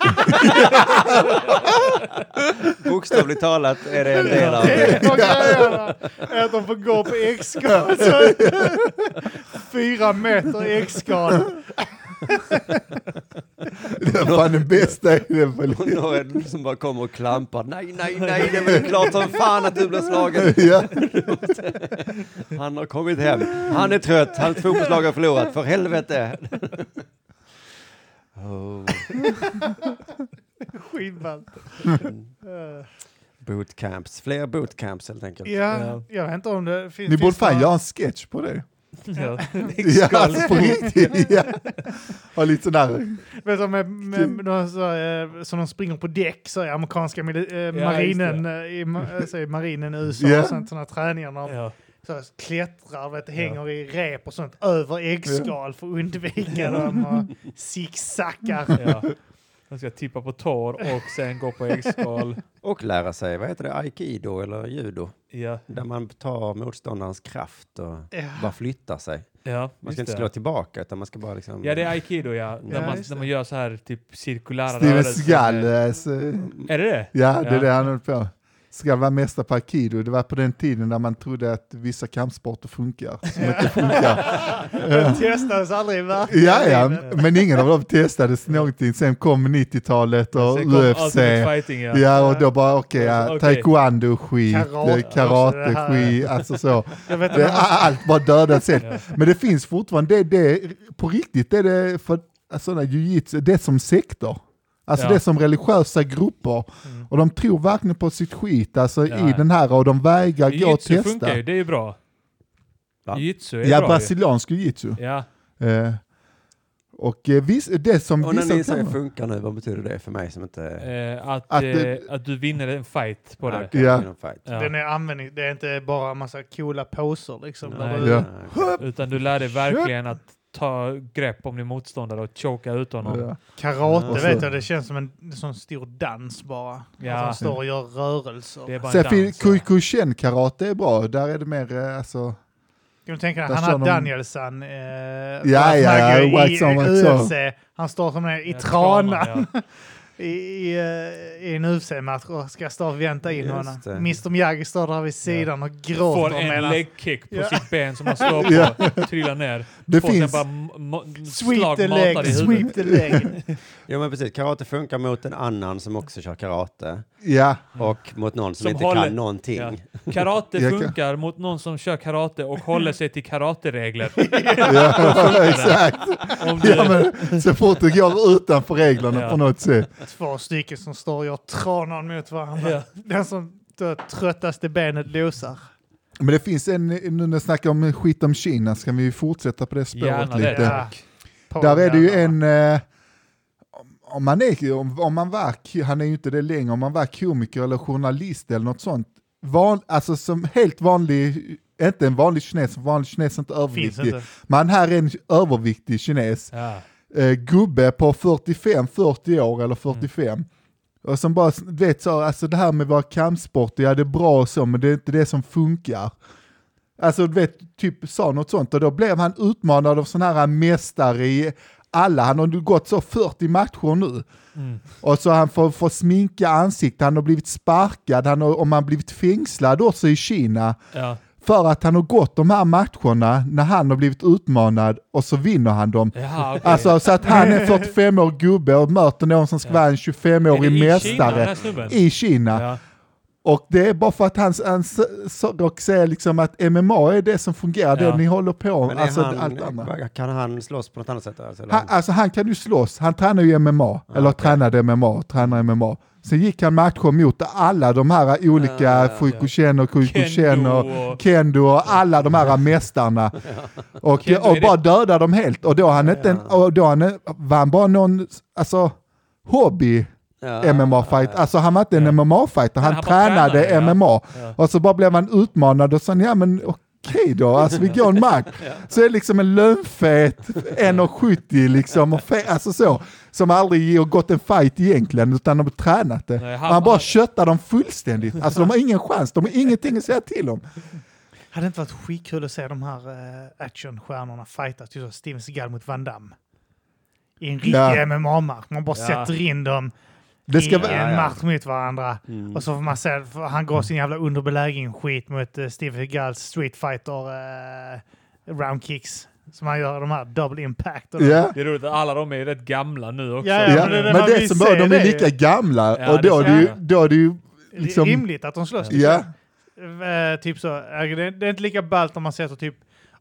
Bokstavligt talat är det en del av
Det
det.
är vad grejerna är att de får gå på X-skal. så- Fyra meter i X-skal.
det är fan den bästa idén på
Och
livet.
någon som bara kommer och klampar. Nej, nej, nej, det är väl klart som fan att du blir slagen.
Ja.
Han har kommit hem. Han är trött. Hans fotbollslag har förlorat. För helvete. Oh,
Skitballt. Eh,
bootcamps. Fler bootcamps helt enkelt.
Ja, jag vet inte om det finns...
Ni borde
finns
fan
det-
göra en sketch på det.
ja.
Ja, alltså, på riktigt. Ja. Och lite sådär.
Vet du, med, med, med de, så, eh, som de springer på däck, så är amerikanska mili- eh,
just
marinen, eh, i, ma- eh, så, i marinen i USA,
Ja.
och sånt, sådana träningar när de
Ja.
så, klättrar, vet, hänger i rep och sånt över äggskal för att undvika dem och zigzaggar.
Ja. De ska tippa på tår och sen gå på äggskal.
Och lära sig, vad heter det, aikido eller judo?
Ja,
Där man tar motståndarens kraft och bara
Ja.
flyttar sig.
ja,
Man
just
ska inte
det.
slå tillbaka utan man ska bara liksom...
Ja, det är aikido ja. När,
Ja,
man,
just
när man gör så här typ cirkulära
Steven Skall. Alltså.
Är det det?
Ja, det
Ja.
är det han höll på. Skall vara mästare på Aikido. Det var på den tiden när man trodde att vissa kampsporter funkar. Som inte funkar.
Den testades aldrig i verkligheten.
Ja, ja, men ingen av dem testades någonting. Sen kom 90-talet och
Sen kom
UFC.
Ultimate Fighting ja.
Ja, och då bara okej, ja,
Okej.
taekwondo-skit,
Karate,
eh, karate-skit,
också
alltså så.
Jag vet
Det,
inte,
allt bara dödas helt.
Ja.
Men det finns fortfarande, det, det, på riktigt är det för sådana jujitsu, det är som sektor. Alltså
Ja.
det är som religiösa grupper.
Mm.
Och de tror verkligen på sitt skit, alltså
Ja.
i den här, och de vägrar gå och
Jujutsu
testa.
funkar ju, det är ju bra.
Va?
Jujutsu är
Ja,
bra
brasiliansk jujitsu.
ju. Ja,
Eh, och eh, viss, det som
Och när ni
vissa
säger
kan...
funkar nu, vad betyder det för mig som inte...
eh, att,
Att
eh,
det-
att du vinner en fight på det.
Okej,
Ja.
inom fight.
Ja.
den är användning, det är inte bara en massa coola poser liksom.
Nej.
Där
Ja.
ute.
okej.
Utan du lär dig verkligen att ta grepp om din motståndare och choka ut honom.
Ja.
Karate
Och
så-
vet jag, det känns som en en sån stor dans bara.
Ja.
Alltså, de står och gör rörelser.
Det är bara en
Sen finns
dans. ja.
Kuykushin-karate är bra, där är det mer eh, alltså...
Kan du tänka dig,
Där
han
kör
har
de-
Danielsson. Eh,
ja,
Schwarzenegger
Wax on, wax
i
off.
UFC. Han står som en i
Ja,
tranan
Eh, tranan, ja.
i, i, eh, i en UFC-match och ska stå och vänta in
Just
honom.
det.
Mr Miyagi står där vid sidan och
Får
gråter
en
medan
legkick på
Ja.
sitt ben som han slår på, trillar ner.
Det
får
finns-
sen bara m- m-
Sweep
slag
the
matad
leg,
i huvudet.
sweep the leg.
Jo men precis, karate funkar mot en annan som också kör karate.
Ja,
Och mot någon som,
Som
inte
håller-
kan någonting.
Ja. Karate
Jag kan-
funkar mot någon som kör karate och håller sig till karateregler.
ja exakt.
Om du,
Ja, men, så fort det går utanför reglerna
Ja.
på något sätt.
Två stycken som står och gör tranan mot varandra.
Ja.
Den som det tröttaste benet losar.
Men det finns en, nu när jag snackar om skit om Kina, ska vi ju fortsätta på det spåret
Gärna det,
lite.
tack.
På
Där är det ju
den.
en, eh, om- om man, är, om, om man var, k- han är ju inte det längre, om man var komiker eller journalist eller något sånt, van, alltså som helt vanlig, inte en vanlig kines, en vanlig kines är inte
Finns
överviktig,
inte.
men här är en överviktig kines,
Ja.
eh, gubbe på 45, 40 år eller 45. Och som bara, du vet så, alltså det här med våra kampsporter, ja det är bra och så, men det är inte det som funkar. Alltså du vet, typ sa något sånt och då blev han utmanad av sådana här mästare i alla, han har nu gått så 40 matcher nu. Och så han får, får sminka ansiktet, han har blivit sparkad, han har, om han blivit fängslad också i Kina.
Ja.
För att han har gått de här matcherna när han har blivit utmanad och så vinner han dem.
Jaha, okej.
Alltså så att han
Eh.
är 45 år gubbe och möter någon som ska vara en
Är det
25-årig
i Kina, den
mästare
här snubben?
i Kina.
Ja.
Och det är bara för att hans, hans rock säger liksom att MMA är det som fungerar,
Ja.
det ni håller på
Men
med,
är
alltså
han,
allt annat.
Kan han slåss på något annat sätt? Alltså, eller?
Han, alltså han kan ju slåss, han tränar ju MMA, eller tränade MMA, tränar MMA. Sen gick han matcher mot alla de här olika
Ja, ja,
ja,
ja.
Fukuchen och Kuikuchen och
Kendo och-
Kendo och alla de här mästarna. Och,
Kendo
och
är
bara dödade dem helt. Och då han inte, en,
Ja.
och då han, var han bara någon, alltså hobby
Ja,
MMA-fight. Alltså han var inte en
Ja.
MMA-fighter, han,
han bara
tränade
tränade, ja.
MMA.
Ja.
Och så bara blev han utmanad och sa ja men okej då, alltså vi går en match. Så är det liksom en lönnfet 1,70 liksom, och fe- alltså så, som aldrig har gått en fight egentligen, utan de har tränat det.
Nej,
Och
han-
han, bara
han-
köttar dem fullständigt, alltså de har ingen chans, de har ingenting att säga till om.
Hade det inte varit skitkul att se de här eh, actionstjärnorna fightas, typ som Steven Seagal mot Van Damme? I en riktig
Ja.
MMA-match. Man bara
Ja.
sätter in dem
Det ska
i
vara...
Ja,
en
ja.
match mot varandra.
Mm.
Och så får man se, för han går sin jävla underbelägring skit mot uh, Steven Seagals Street Fighter eh, roundkicks. Som han gör de här double impact. Och de-
Ja.
Det är roligt att alla de är rätt gamla nu också.
Ja, ja,
Ja,
men det är det
men
man
det
vill
som
se,
bara, de
det
är
är ju-
lika gamla
Ja,
och då är
det
det ju,
ser jag.
då är det ju
Det är
liksom,
rimligt att de slåss.
Ja.
liksom. Eh, typ så. eh, Det, det är inte lika ballt om man sätter typ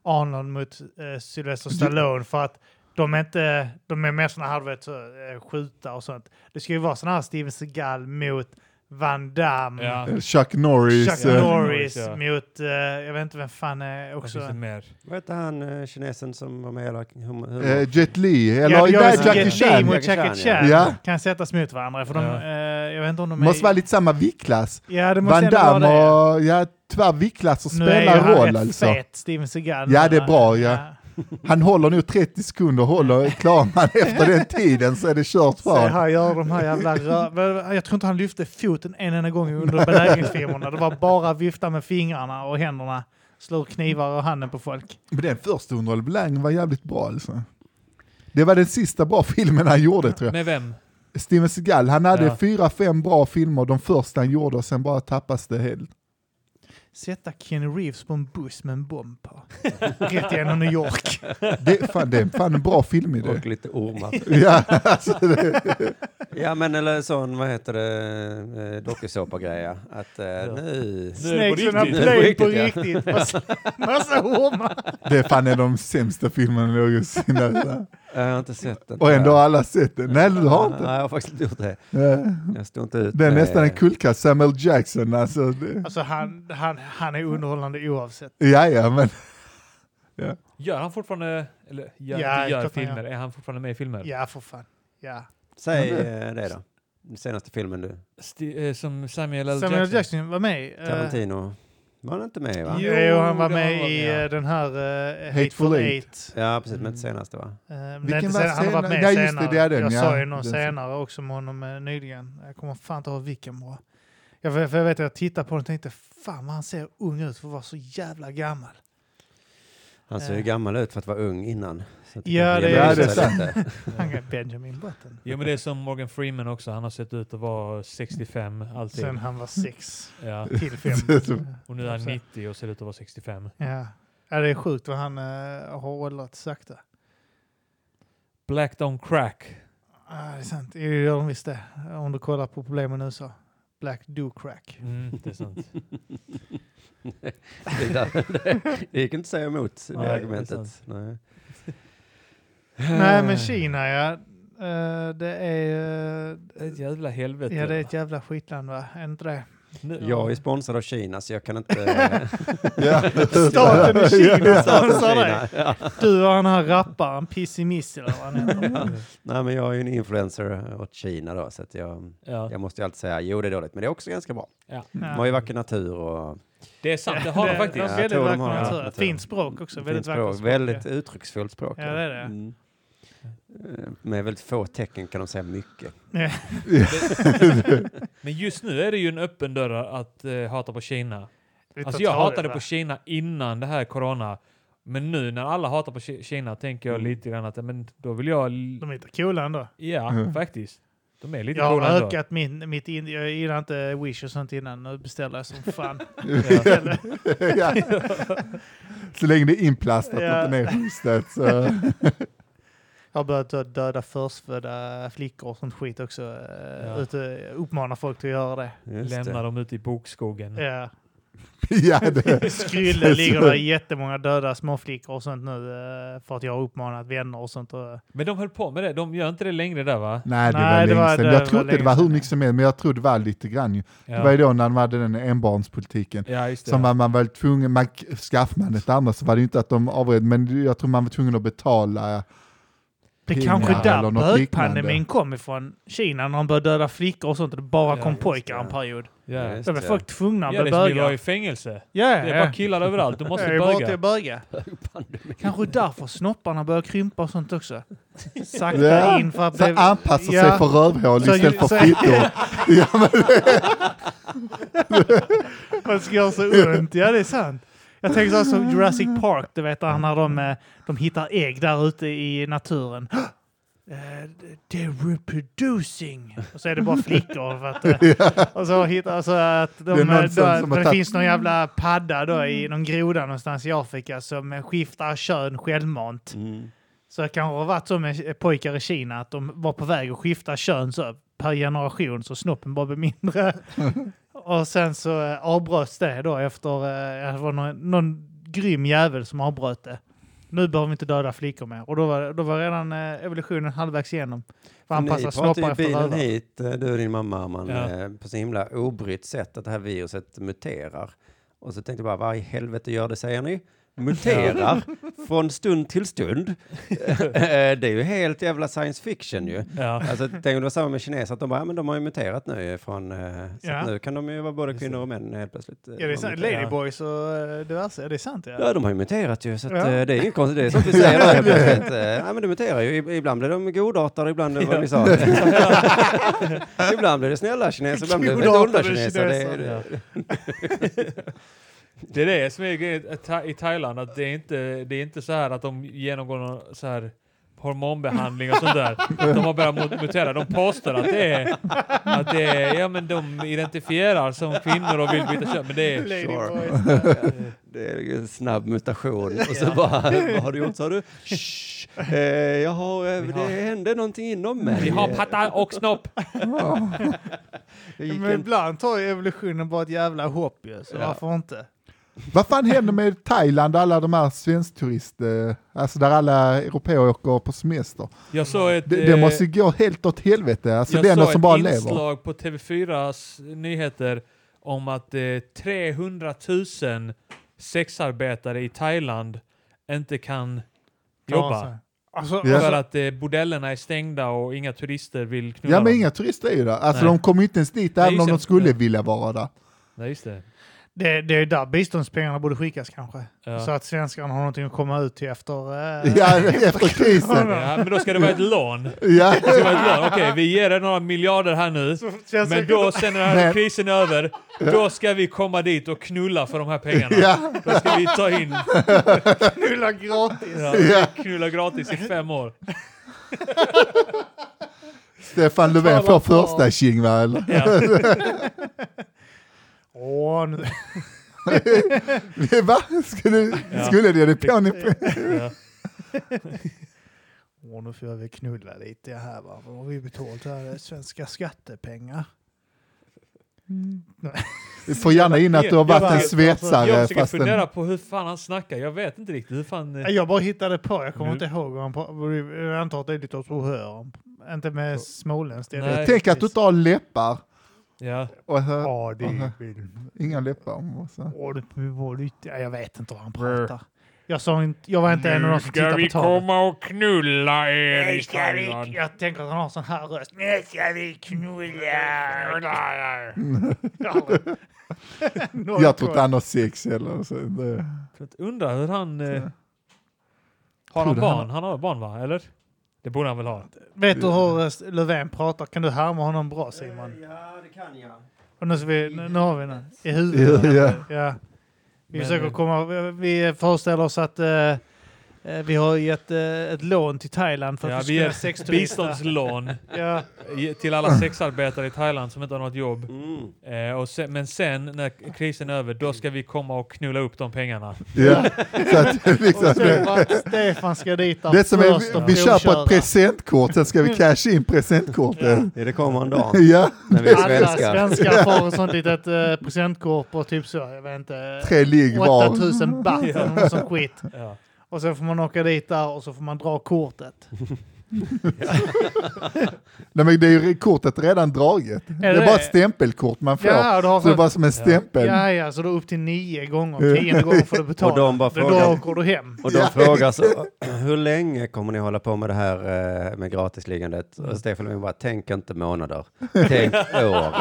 Arnold mot eh, Sylvester Stallone för att de är, inte, de är mer sådana här, du vet, så, eh, skjuta och sånt. Det ska ju vara sådana här Steven Seagal mot Van Damme,
Ja.
Chuck Norris.
Chuck
eh,
Norris
Ja.
mot, eh, jag vet inte vem fan är
Vad finns det
också...
mer?
Vad hette han eh, kinesen som var med i hela humor?
eh, Jet Li, eller
Ja, det gör
nej,
väl
Jackie
Jet Li
Chan.
mot Jackie
Jackie Chan,
Chan.
ja.
Kan sättas mot varandra för de,
Ja.
eh, jag vet inte om de är...
Måste vara lite samma viktklass.
ja, det måste
Van
ändå vara
Damme
det.
och, ja tyvärr viktklass och
Nu är ju han
spelar roll
rätt
alltså.
fet, Steven Seagal. eh,
Ja, det är bra, ja. Han håller nu 30 sekunder, håller, klarar man efter den tiden så är det kört
Se
för honom.
här gör de här jävla rö- Vad- Jag tror inte han lyfte foten en enda gång under belägringsfilmerna. Det var bara vifta med fingrarna och händerna. Slå knivar och handen på folk.
Men den första underhållningen var jävligt bra alltså. Det var den sista bra filmen han gjorde tror jag.
Med vem?
Steven Seagal, han hade
Ja.
fyra, fem bra filmer, de första han gjorde och sen bara tappas det helt.
Sätta Ken Reeves på en buss med en bomb på. Rätt igenom New York.
Det, fan, det är fan en bra film i det.
Och lite ormar.
Ja, alltså det.
ja men eller sån, vad heter det, eh, dokusåpa-greja. Att eh, nu...
Nu är det på
Snakes on a
riktigt.
plane på
Nu är det på
riktigt. Massa, massa ormar.
det är fan en av de sämsta filmerna någonsin. alltså.
Jag har inte sett den.
Och ändå har alla sett den. Nej, du har inte.
Nej, jag har faktiskt inte gjort det.
Ja.
Jag står inte ut
Det är
med-
nästan en kultkast, Samuel Jackson alltså. Det,
Alltså han, han, han är underhållande oavsett.
ja, ja, men
Gör han fortfarande, eller gör,
Ja,
inte gör
klart han
filmer? Är han fortfarande med i filmer?
Ja, för fan. Ja.
Säg
Ja,
eh, det då. Den senaste filmen du.
Sti- eh, som Samuel L.
Samuel Jackson, var med i, eh,
Tarantino. Var han inte med va?
Jo,
Jo, han var
det
med
var-
i
ja.
eh, den här eh,
Hateful
Hateful
Eight.
Eight.
Ja, precis, men inte senaste va?
Eh, men det är
Vilken
inte
var
senare, han har varit
senare?
med
Nej, just det,
senare.
det är den,
jag
ja.
sa ju någon
Den-
senare också med honom eh, nyligen. Jag kommer fan inte ihåg vilken bra. Jag, vet- för jag vet att jag tittade på den och tänkte fan vad han ser ung ut för att vara så jävla gammal.
Han ser ju
Eh.
gammal ut för att vara ung innan. Så att
Ja,
kanske
det
är-
jämnar ut
Ja, det är
sig
sant.
lite.
Han är Benjamin Button.
Jo men det är som Morgan Freeman också, han har sett ut att vara 65 alltid.
Sen han var sex
Ja.
till fem.
Och nu är han 90 och ser ut att vara 65.
Ja. ja, det är sjukt vad han eh, har åldrats sakta.
Black Don't Crack.
Ah, det är sant, det gör de visst det. Om du kollar på problemen nu så. Black Do Crack.
Mm, det är sant.
Det där- det- Det gick inte att säga emot
Nej, det
det
är
argumentet.
sant.
Nej.
Nej men Kina ja. Eh, det är... eh,
Det är ett jävla helvete.
Ja, det är ett jävla skitland va? Är inte det?
Nu,
Jag är sponsrad av Kina så jag kan inte...
ja.
Staten i Kina sponsrar dig.
Kina. Ja.
Du och den här rapparen, Pissimist eller vad han heter.
Nej men jag är ju en influencer åt Kina då så att jag,
ja.
jag måste ju alltid säga jo det är dåligt men det är också ganska bra.
Ja.
De har ju vacker natur och
Det är sant, det har de
Det-
faktiskt.
de
Ja,
har
jag
väldigt
tror de
vacker
har, ja.
natur.
Jag tror-
Fint språk också.
fint
Väldigt vackert
språk.
språk.
Väldigt
ja.
uttrycksfullt språk.
Ja, det är det.
Mm. Eh, Med väldigt få tecken kan de säga mycket.
Men just nu är det ju en öppen dörr att eh, hata på Kina.
Vi tar
Alltså jag
tag i
hatade
va?
på Kina innan det här corona. Men nu när alla hatar på Ki- Kina tänker jag
Mm.
lite grann att men då vill jag... l-
De är inte coola ändå.
Ja,
Mm.
faktiskt. De är lite
Mm. Jag har
coola ändå.
ökat min, mitt in, Jag gillade inte Wish och sånt innan. Nu beställer jag som fan.
ja. Så länge det är inplastat
Ja.
och inte är schysst. Så.
Jag har börjat dö- döda förstfödda flickor och sånt skit också. eh,
Ja.
Ute, uppmanar folk till att göra det.
Just
Lämna
det.
dem ute i bokskogen.
Ja.
ja, det.
Skrylle ligger där jättemånga döda småflickor och sånt nu eh, för att jag har uppmanat vänner och sånt. Och,
Men de höll på med det. De gör inte det längre där va?
Nej, det
Nej,
var
det
länge
var-
sedan.
det var
jag trodde det
länge
var hur
sedan,
mycket som helst, men jag tror det var lite grann ju.
Ja,
Det var ju då när de hade den enbarnspolitiken.
ja just det.
Som var man var tvungen, man, skaffade man ett annat så var det ju inte att de avred, men jag tror man var tvungen att betala.
det är
Pinnar
kanske
eller
där
något
bögpandemin
liknande.
kom ifrån. Kina när de började döda flickor och sånt och det bara
Ja,
kom
just
pojkar
det.
en period.
ja.
Just
Då blev
det.
folk tvungna att
Ja,
bli
det är som vi var
bögar.
i fängelse.
Ja,
Det
ja.
är bara killar överallt. De måste
Jag är bara till
böga.
att böga. Kanske därför snopparna börjar krympa och sånt också. Sakta
Ja.
in för att
Så anpassa sig
Ja.
för rövhål
Så-
istället för
så-
fittor. ja, men,
Man ska göra så ont. Ja, det är sant. Jag tänker så här som Jurassic Park, du vet där när de, eh, de hittar ägg där ute i naturen. Eh, They're reproducing. Och så är det bara flickor. För att, eh, och så hittar så att de,
Det är någon
eh,
sån
då,
som
då
har
det
tagit-
finns någon jävla padda då i någon groda någonstans i Afrika som eh, skiftar kön självmant.
Mm.
Så det kanske har varit så med pojkar i Kina att de var på väg att skifta kön så per generation så snoppen bara blev mindre. och sen så eh, avbröts det då efter, eh, det var någon, någon grym jävel som avbröt det. Nu behöver vi inte döda flickor mer. Och då var, då var redan eh, evolutionen halvvägs igenom. För att
Ni
anpassa snoppar
pratade ju
efter
bilen
rövar.
hit, eh, du och din mamma, man,
Ja.
eh, på så himla obrytt sätt att det här viruset muterar. Och så tänkte jag bara, vad i helvete gör det, säger ni? Muterar från stund till stund. Eh, det är ju helt jävla science fiction ju.
Ja.
Alltså, tänk om det var samma med kineser, att de bara, ja, men de har ju muterat nu från, eh, så
Ja.
att nu kan de ju vara både
Just det.
kvinnor och män helt plötsligt. eh,
Ja, det är sant.
muterar.
Ladyboys och eh, diverse. Ja, det är sant. Ja.
Ja, de har ju muterat ju, så att,
Ja.
eh, det är inget konstigt. Det är sånt vi säger där helt plötsligt. Eh, Ja, men de muterar ju. I- Ibland blir de godartade, ibland blir de sa. ibland blir det snälla kineser, ibland blir det väldigt onda
Godartade
kineser. Det är,
kineser,
Ja. det är det som är grejen att Tha- i Thailand, att det är inte, det är inte så här att de genomgår någon så här hormonbehandling och sånt där. De har börjat mut- mutera. De påstår att det är, att det är, ja men de identifierar som kvinnor och vill byta kön. Men det är,
Ladyboys.
det är en snabb mutation. Och så bara, vad har du gjort, sa du? Shh, eh, jag har, eh,
Vi har-
det hände någonting inom mig.
vi har patta och snopp.
Jag Eh, gick
Men
en,
ibland tar ju evolutionen bara ett jävla hopp ju, så
Ja.
varför inte?
vad fan händer med Thailand och alla de här svenskturister, alltså där alla européer åker på semester?
Jag såg ett...
Mm. Det, det
eh,
måste gå helt åt helvete, alltså
jag
länder
såg
som bara
ett
lever.
inslag på TV4s nyheter om att eh, 300 000 sexarbetare i Thailand inte kan jobba.
Alltså,
Ja.
För att eh, bordellerna är stängda och inga turister vill knulla
Ja men
dem.
inga turister är ju där, alltså
Nej.
de kommer ju inte ens dit
Nej,
även om de
just det.
skulle
Ja.
vilja vara där.
Nej, just det.
Det, det är där biståndspengarna borde skickas kanske.
Ja.
Så att svenskarna har någonting att komma ut till efter... eh,
Ja, efter krisen.
Ja, men då ska det vara ett lån.
Ja.
Det ska vara ett lån. Okej, vi ger er några miljarder här nu.
svenskar-
Men då, sen när den här
Men-
krisen är över, då ska vi komma dit och knulla för de här pengarna.
Ja.
Då ska vi ta in,
Knulla gratis!
ja,
Ja.
knulla gratis i fem år.
Stefan Löfven
Tala
får
på.
första tjing va? eller?
Ja.
Åh, nu...
Va? Skulle,
Ja.
skulle det det på ni?
Ja.
Åh, nu får jag väl knulla lite här va. Vad har vi betalt här? Det är Svenska skattepengar.
Vi får gärna in att du har
Jag
varit en
försöker-
svetsare
Jag försöker
fast en,
fundera på hur fan han snackar. Jag vet inte riktigt hur fan... eh,
Jag bara hittade på, jag kommer
Nu-
inte ihåg vad han pra- Jag antar att det är lite åt ohör. Inte med småländskt.
Nej.
Tänk att du inte har läppar.
Ja.
Och, så-
Ja, det
Aha.
är väl-
inga läppar. Och så.
Åh, det var lite... Ja, jag vet inte vad han pratar. Jag, sa inte, jag var inte en av de som tittade på talet.
och knulla er
Nu ska vi, jag tänker att han har sån här röst. Nu ska vi knulla! Noll
Jag tror inte
koll.
han har sex heller. Så det,
Undrar hur han... Eh, har
Tror
han
du
barn?
han-
Han har barn va? Eller? Det borde han väl ha?
Vet du hur eh, Löfven pratar? Kan du härma honom bra Simon?
Ja, det kan jag.
Och nu, ska vi, nu, nu har vi den. I
ja,
huvudet.
ja.
Ja. Vi
Men-
försöker komma... Vi föreställer oss att eh, Eh, Vi har gett eh, ett lån till Thailand för att
Ja,
vi
vi
ska
ger
kunna sexturista.
Biståndslån
Ja,
ge- till alla sexarbetare i Thailand som inte har något jobb.
Mm.
Eh, och sen, men sen när krisen är över, då ska vi komma och knulla upp de pengarna.
Ja. Så att, det är
och så
liksom, det,
för att Stefan ska dit där
det som
först
är,
och
vi köper
provköra.
ett presentkort, sen ska vi casha in presentkortet.
Ja, Det kommer en dag
Ja,
när vi är
Alla
svenskar.
svenskar får ett sånt litet eh, presentkort på typ så, jag vet inte,
tre ligg var.
8000 baht eller något sånt skit.
Ja.
Och sen får man åka dit där och så får man dra kortet.
Nej, men det är ju kortet redan draget. Det
det
är bara
det?
ett stämpelkort man får.
Ja, du har
Så det är
fått,
bara som en stämpel.
ja, ja, så då upp till nio gånger, tionde gången får du betala.
Och de bara
Då-
frågar-
Då åker du hem.
Och de frågar så, hur länge kommer ni hålla på med det här eh, med gratisliggandet? Och Stefan Löfven bara, tänk inte månader, tänk år.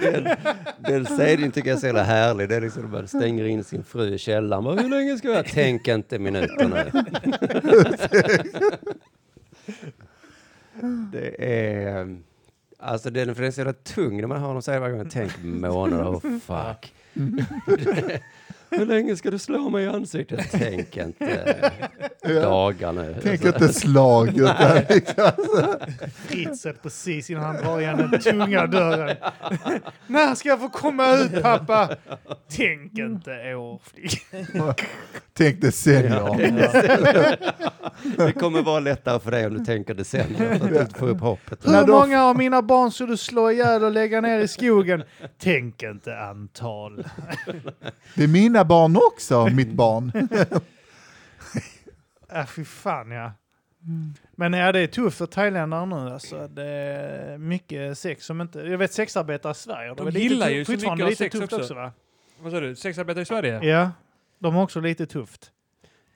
den, den sägningen tycker jag är så jävla härlig. Det är liksom, man stänger in sin fru i källaren. Bara, hur länge ska vi ha? Tänk inte minuter nu. det är... Alltså den, för den är så jävla tung när man hör dem säga varje gång, tänk månader, oh fuck. Hur länge ska du slå mig i ansiktet? Tänk inte Alltså, dagar nu.
Tänk
Alltså.
inte slag, utan liksom,
Fritzet precis innan han drar igen den tunga dörren. När ska jag få komma ut pappa? Tänk inte år.
tänk decennier.
Det kommer vara lättare för dig om du tänker decennier. Så att du inte får upp hoppet.
Hur
När de-
många av mina barn ska du slå ihjäl och lägga ner i skogen? Tänk inte antal.
Det är mina barn också, mitt barn.
Äh, fy fan ja. Men ja, det är tufft för thailändare nu alltså. Det är mycket sex som inte... Jag vet sexarbetare i Sverige.
De
är lite
gillar
tu-
ju så mycket
fortfarande
av
lite
sex
tufft
också.
va?
Vad sa du? Sexarbetare i Sverige?
Ja, de har också lite tufft.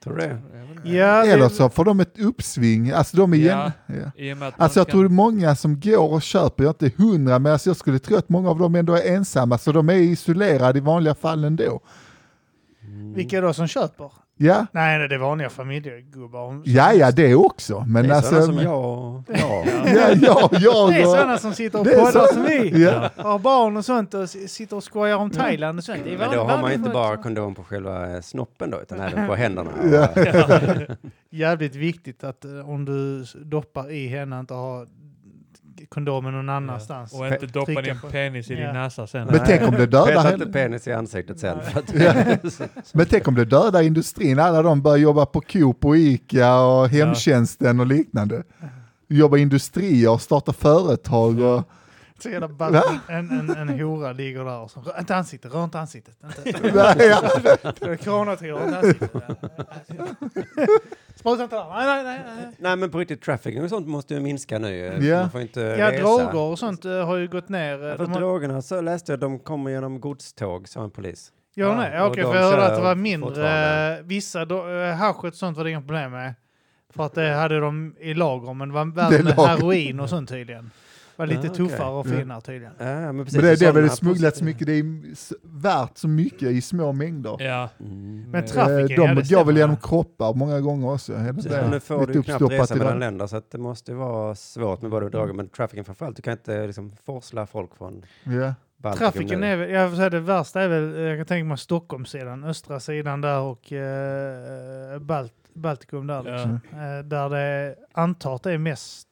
Tror du det?
Mm.
Ja,
Eller
det,
så får de ett uppsving. Alltså de är
Ja.
jämna. Ja.
I och med att
Alltså
man
jag tror många som går och köper, jag är inte hundra, men alltså jag skulle tro att många av dem ändå är ensamma, så de är isolerade i vanliga fall ändå.
Mm.
vilka då som köper?
Ja,
Nej, nej, det är vanliga familjegubbar.
ja, ja det också. Men
Det är
alltså,
sådana som jag och... Ja.
Ja, ja, jag
Det är
och-
sådana som sitter och
Det är
poddar
så-
som vi.
Ja.
Har barn och sånt och s- sitter och skojar om Thailand och sånt. Det är
Men då
van-
har man
vanligt
ju inte
folk
bara
som-
kondom på själva eh, snoppen då, utan även på händerna.
Jävligt viktigt att eh, om du s- doppar i henne inte ha kondomen någon annanstans.
Och inte doppa
Trycka
din
på-
penis i
Ja.
din näsa sen.
Men tänk om det dödar
Peta inte
hela-
penis i ansiktet sen. För att,
Men tänk om det dödar industrin, alla de börjar jobba på Coop och Ica och hemtjänsten och liknande. Jobba i industrier och starta företag och...
Så jävla ball.
Va?
En, en, en hora ligger där och så, rör inte ansiktet, rör inte ansiktet. Inte.
Nej, ja.
Corona till, rör inte ansiktet. Spruta inte där, nej, nej, nej. nej.
Nej men på riktigt, trafficking och sånt måste ju minska nu. eh.
Ja.
Man får inte
Ja,
resa.
droger och sånt eh, har ju gått ner. eh,
Ja,
De
Fast
har-
drogerna så läste jag, de kommer genom godståg, sa en polis.
Ja,
Ja,
nej.
och
Okej,
de
för jag hörde
kör
att det var mindre.
fortfarande.
eh, Vissa, då, eh, hasch och sånt var det inga problem med. För att det hade de i lager, men det var
Det
värre
är
med
lager.
heroin och sånt tydligen. var lite
Ja, okej.
tuffare och
Mm.
finare tydligen.
Ja, men precis,
Men det är det,
sådana
väl det
här
smugglats
positiva-
mycket, det är s- värt så mycket i små mängder.
Ja.
Mm.
Men
Eh,
trafficking, ja, det
De går
stämmer,
väl
ja.
genom kroppar många gånger också. Är det
Precis,
det?
men nu får du ju knappt
uppstoppat
resa
i
mellan
den.
länder så att det måste ju vara svårt med både droger men trafficking framförallt. Du kan inte liksom forsla folk från
Ja.
Baltikum
Trafficking
nu.
är väl, jag får säga det värsta är väl, eh, jag kan tänka mig Stockholmssidan, östra sidan där och eh, Balt, Baltikum där. Liksom.
Ja.
Eh, där det antar att det är mest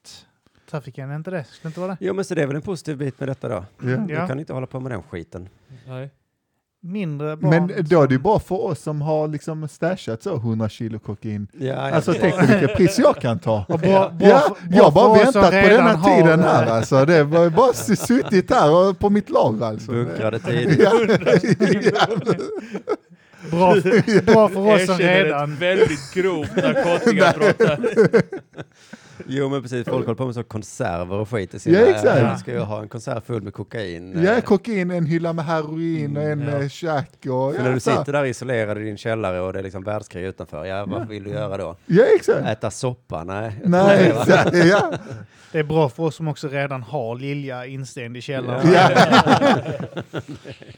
trafficking, är inte det? Skulle inte vara det?
Jo men så det är väl en positiv bit med detta då.
Ja.
Du
Ja.
kan inte hålla på med den skiten.
Nej.
Mindre barn.
Men då är det ju
som-
bra för oss som har liksom stashat så 100 kilo kokain.
Ja,
Alltså tänk dig vilket pris jag kan ta.
Och bra, bra,
Ja,
bra
jag har
för
bara
oss som
väntat på
redan
denna
har
tiden
det.
här alltså. Det var bara s- suttit här och på mitt lag alltså.
Bunkrade tidigt.
Ja.
Bra, bra för oss som
Erkänner
redan...
ett väldigt grovt narkotikabrott. där.
Jo men precis, folk håller på med så konserver och skit i sina...
Ja, exakt.
Man ska ju ha en konserv full med kokain.
Ja,
Eh,
kokain, en hylla med heroin och en
ja.
eh, käk och...
För
ja,
när du
så här.
sitter där isolerad i din källare och det är liksom världskrig utanför, ja vad vill du göra då?
Ja, exakt.
Äta soppa? Nej.
Nej, exakt. Ja.
Det är bra för oss som också redan har lilja instängd i källaren.
Ja.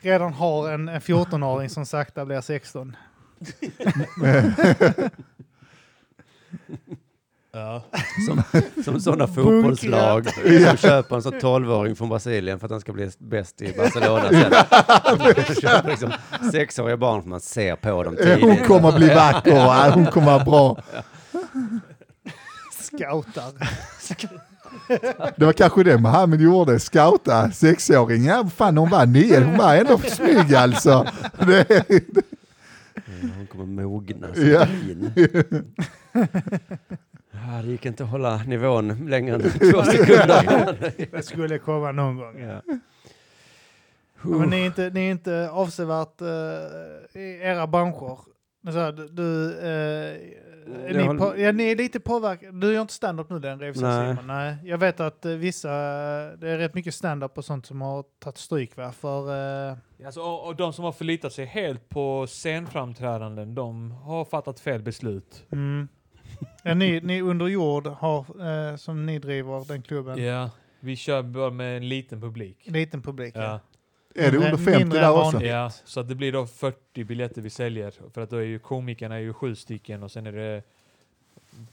Redan har en, en 14-åring som sakta blir 16.
Ja.
Som, som sådana fotbollslag som köper en sån 12-åring från Brasilien för att han ska bli bäst i Barcelona sen. De köper liksom sexåriga barn för man ser på dem tidigt.
Hon kommer bli vacker, va? hon kommer vara bra.
Scoutar.
Det var kanske det Mohammed gjorde, scouta sexåringar. Fan hon var nio, hon var ändå snygg alltså. Det är,
Ja, Mm, Hon kommer mogna som
Ja.
vin. Ja, det gick inte att hålla nivån längre än två sekunder.
Det skulle komma någon gång.
Ja.
Ja, men ni är inte, ni är inte avsevärt eh, i era branscher. Men Så här, du, du, eh, är
Jag
ni,
håller-
på, ja, ni är lite påverkade. Du gör inte stand-up nu den Reeves och
Nej.
Simon. Nej. Jag vet att eh, vissa, eh, det är rätt mycket stand-up och sånt som har tagit stryk va? För, eh,
Alltså, och, och de som har förlitat sig helt på scenframträdanden, de har fattat fel beslut.
mm. ja, ni, ni under jord har, eh, som ni driver den klubben,
Ja. Vi kör bara med en liten publik.
liten publik.
Ja.
är det under
Mindre-
50
mindre
där
än
också?
vanligt.
Ja, så att det blir då 40 biljetter vi säljer. För att då är ju komikerna är ju sju stycken och sen är det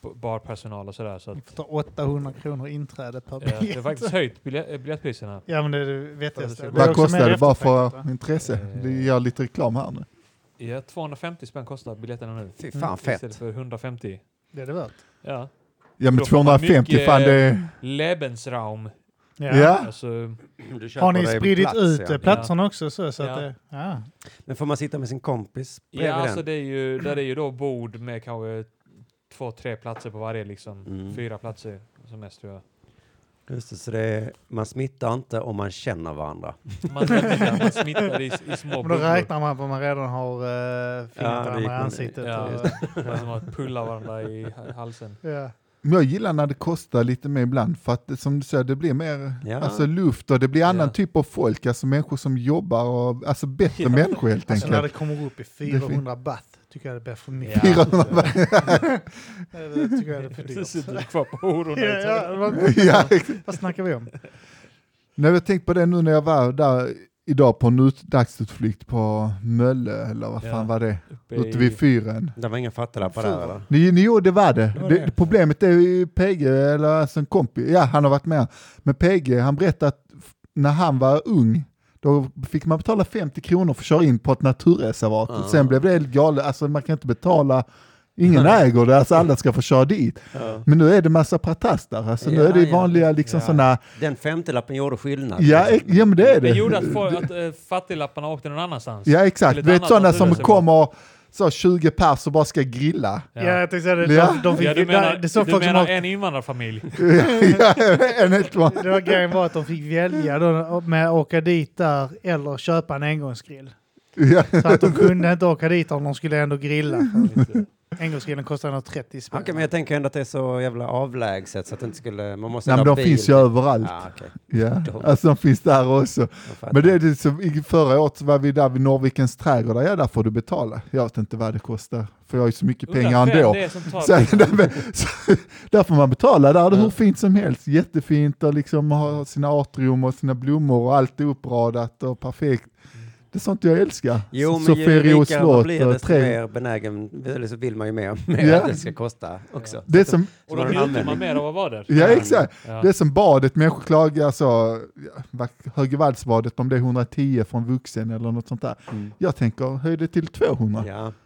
b- barpersonal och sådär. Så
Ni
att,
får ta 800 kronor inträde per
ja,
biljett.
det har faktiskt höjt bilje- eh, biljettpriserna.
Ja men det är det vettigaste.
Vad
är
Vad
också
kostar
mer
det bara för
eftertraktat, va?
intresse? Vi gör lite reklam här nu.
Ja, 250 spänn kostar biljetterna nu.
Fy fan
Istället
fett.
för 150.
Det är det värt.
Ja.
Ja men
Då får man
250
mycket- eh,
fan det är...
Lebensraum.
Ah!
Ja.
Alltså,
Du köper
Har ni
dig
spridit
plats,
ut
ja.
eh, platserna också? Så, så
Ja.
att det, ja.
Men får man sitta med sin kompis bredvid
ja, alltså
den?
det är ju, där är ju då bord med kanske två, tre platser på varje liksom.
Mm.
Fyra platser som mest tror jag.
Just det, så det är, man smittar inte om man känner varandra.
Man smittar, man smittar i, i små
Men då
bubblor.
räknar man på att man redan har uh, fingret
Ja, det
varandra i
gick man-
ansiktet.
Ja,
och,
just Man som att pulla varandra i ha- halsen.
ja.
Men jag gillar när det kostar lite mer ibland för att det- som du säger det blir mer
Ja.
alltså, luft och det blir annan
Ja.
typ av folk, alltså människor som jobbar och alltså bättre
Ja.
människor helt
Alltså när
enkelt.
det kommer upp i 400 baht tycker jag det blir för mycket.
Ja.
400
baht? det tycker jag det är för
Så sitter du
dyrt.
kvar på hororna.
Ja, ja, vad,
ja,
vad snackar vi om?
Nej, jag tänkte på det nu när jag var där idag på en ut- dagsutflykt på Mölle, eller vad fan
Ja.
var det?
Uppe
Ute
i-
vid fyren.
Det var inga fattalappar där eller?
Ni, ni, jo, det var det.
Det var
det.
det.
Problemet är ju PG, eller alltså en kompis, ja han har varit med. Men PG, han berättade att f- när han var ung, då fick man betala 50 kronor för att köra in på ett naturreservat.
Ah.
Sen blev det helt galet, alltså man kan inte betala, ingen äger det, alltså alla ska få köra dit. Men nu är det massa pratastar, alltså nu
Ja,
är det
ja.
vanliga liksom
Ja.
sådana,
Den femtelappen gjorde skillnad.
ja, e- ja men det är det.
Det gjorde att, folk, att äh, fattiglapparna åkte någon annanstans.
Ja
Till
exakt,
ett
du vet
annat
sådana som
naturreservat.
kommer så 20 pers och bara ska grilla.
Ja.
ja.
jag tänkte säga det.
Ja.
De, de fick,
Ja, du menar,
det, såg
du
folk som
menar
har,
en invandrarfamilj?
Ja, en helt van-
det var grejen var att de fick välja då, med att åka dit där eller köpa en engångsgrill.
ja.
Så att de kunde inte åka dit om de skulle ändå grilla. Engångsgrillen kostar 130 spänn.
Okej, men jag tänker ändå att det är så jävla avlägset så att det inte skulle... Man måste
Nej, men
ha
de
bil.
finns ju överallt.
Ja, okej.
Ja. Alltså de finns där också.
Jag fattar.
Men det är det som, i- förra året så var vi där vid Norrvikens trädgård, ja där får du betala. Jag vet inte vad det kostar, för jag har ju så mycket pengar
Undrar vem
ändå.
det är som tar
Så, där, så, där får man betala, där är det
Ja.
hur fint som helst, jättefint och liksom har sina atrium och sina blommor och allt är uppradat och perfekt. Det är sånt jag älskar.
Mm. Jo, men ju
Soferio
rikare man
slott
blir
och
desto
trädgård.
mer benägen, eller så vill man ju mer, mer
Ja.
att det ska kosta också.
Det är som,
Och då
Så
njuter man
användning.
mer av att vara där.
ja exakt,
Ja.
Det är som badet, människor klagar så, ja, vad- Högevaldsbadet om det är 110 från vuxen eller något sånt där.
Mm.
Jag tänker, höj det till 200.
Ja.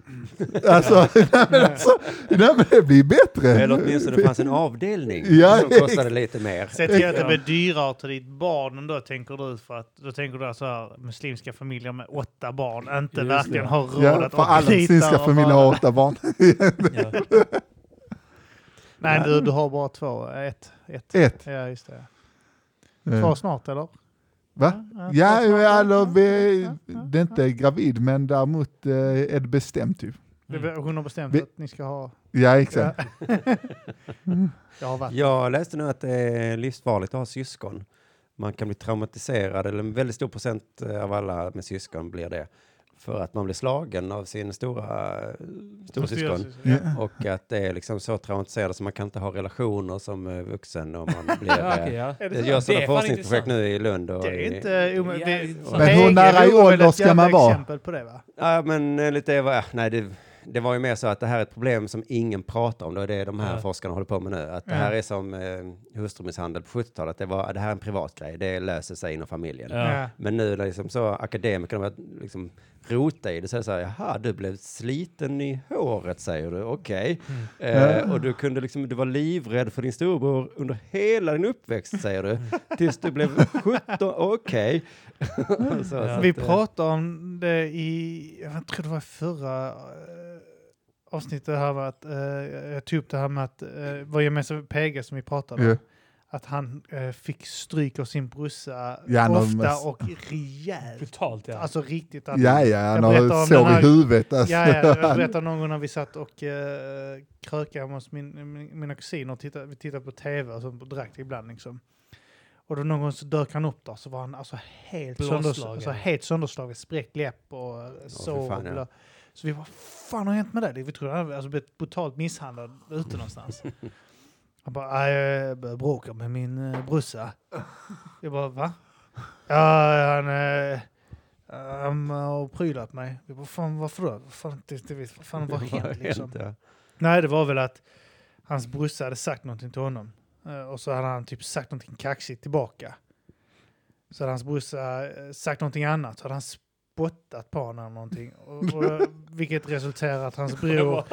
Alltså, nej, men alltså, nej men det blir bättre.
Eller åtminstone det fanns en avdelning
Ja,
som kostade lite mer.
Se till att det blir dyrare till ditt barn än då tänker du för att då tänker du så här muslimska familjer med åtta barn inte
Just det.
verkligen har råd
Ja,
att
för alla
dit
muslimska
där och
familjer
bara-
har åtta barn.
Ja.
Nej du, du har bara två, ett. ett.
Ett.
Ja just det. Två
Eh,
snart eller?
Va?
Ja,
Ja,
två snart,
eller
ja,
vi,
ja, ja,
det är inte gravid, men däremot eh, är det bestämt typ.
ja. Det- Hon har bestämt
Vi-
att ni ska ha...
Ja, exakt.
Jag har varit.
Jag läste nu att det är livsfarligt att ha syskon. Man kan bli traumatiserad, eller en väldigt stor procent eh, av alla med syskon blir det. För att man blir slagen av sin stora, eh, stora syskon.
Ja.
Ja.
Och att det är liksom så traumatiserade så man kan inte ha relationer som eh, vuxen om man blir...
Ja, okej,
eh,
ja.
Är det
Det
så?
görs
Det är
sådana
fan
forskningsprojekt
intressant.
nu i Lund och
Det är
i,
inte omöjligt.
Ja,
Det-
Men
Hegel
hur nära i
är väl
ålder
ett
ska man
jävla
vara?
exempel på det va?
Ja, men eh, lite vad, nej det det var ju mer så att det här är ett problem som ingen pratar om. Det är det de här
Ja.
forskarna håller på med nu. Att det
Ja.
här är som eh, hustrumisshandel på 70-talet. Det, var, det här är en privat grej. Det löser sig inom familjen.
Ja.
Ja.
Men nu är det liksom så akademikerna börjar liksom rota i det. Så är det så här, jaha, du blev sliten i håret säger du, okej. Eh, och du kunde liksom, du var livrädd för din storbror under hela din uppväxt säger du. Tills du blev 17, okej. Så- så
Ja.
att,
Vi
eh,
pratade om det i, jag tror det var i förra eh, avsnittet här med att, eh, jag tog upp det här med att, eh, vad gör med sig PG som vi pratade om?
Ja.
Att han eh, fick stryk av sin brorsa
Ja, han har mest-
ofta och rejält.
Brutalt ja.
Alltså riktigt. Att,
Ja, ja, han
berättar
har
om
sår
den här-
i huvudet. Alltså.
Ja, ja, jag berättade någon gång när vi satt och eh, krökade hemma hos min, min, mina kusiner och tittade, vi tittade på tv och sånt och drack ibland liksom. Och då någon gång så dök han upp där så var han alltså helt, sönders,
Blåslagen.
alltså, helt sönderslagen, spräckt läpp och eh, sår.
fan,
och
ja.
blå. Så vi bara, fan har hänt med dig? Vi trodde han hade alltså, blivit brutalt misshandlad ute någonstans. Han bara, "Nej, jag började bråka med min eh, brorsa. Jag bara, va? Ja, han... Eh, han har prylat mig. Jag bara, fan varför då? Vad fan, det, det, vet- vad fan vad har hänt liksom?
ja.
Nej, det var väl att hans brorsa hade sagt någonting till honom. Eh, Och så hade han typ sagt någonting kaxigt tillbaka. Så hade hans brorsa eh, sagt någonting annat. Så hade han spottat på honom någonting. Och, och, vilket resulterade att hans bror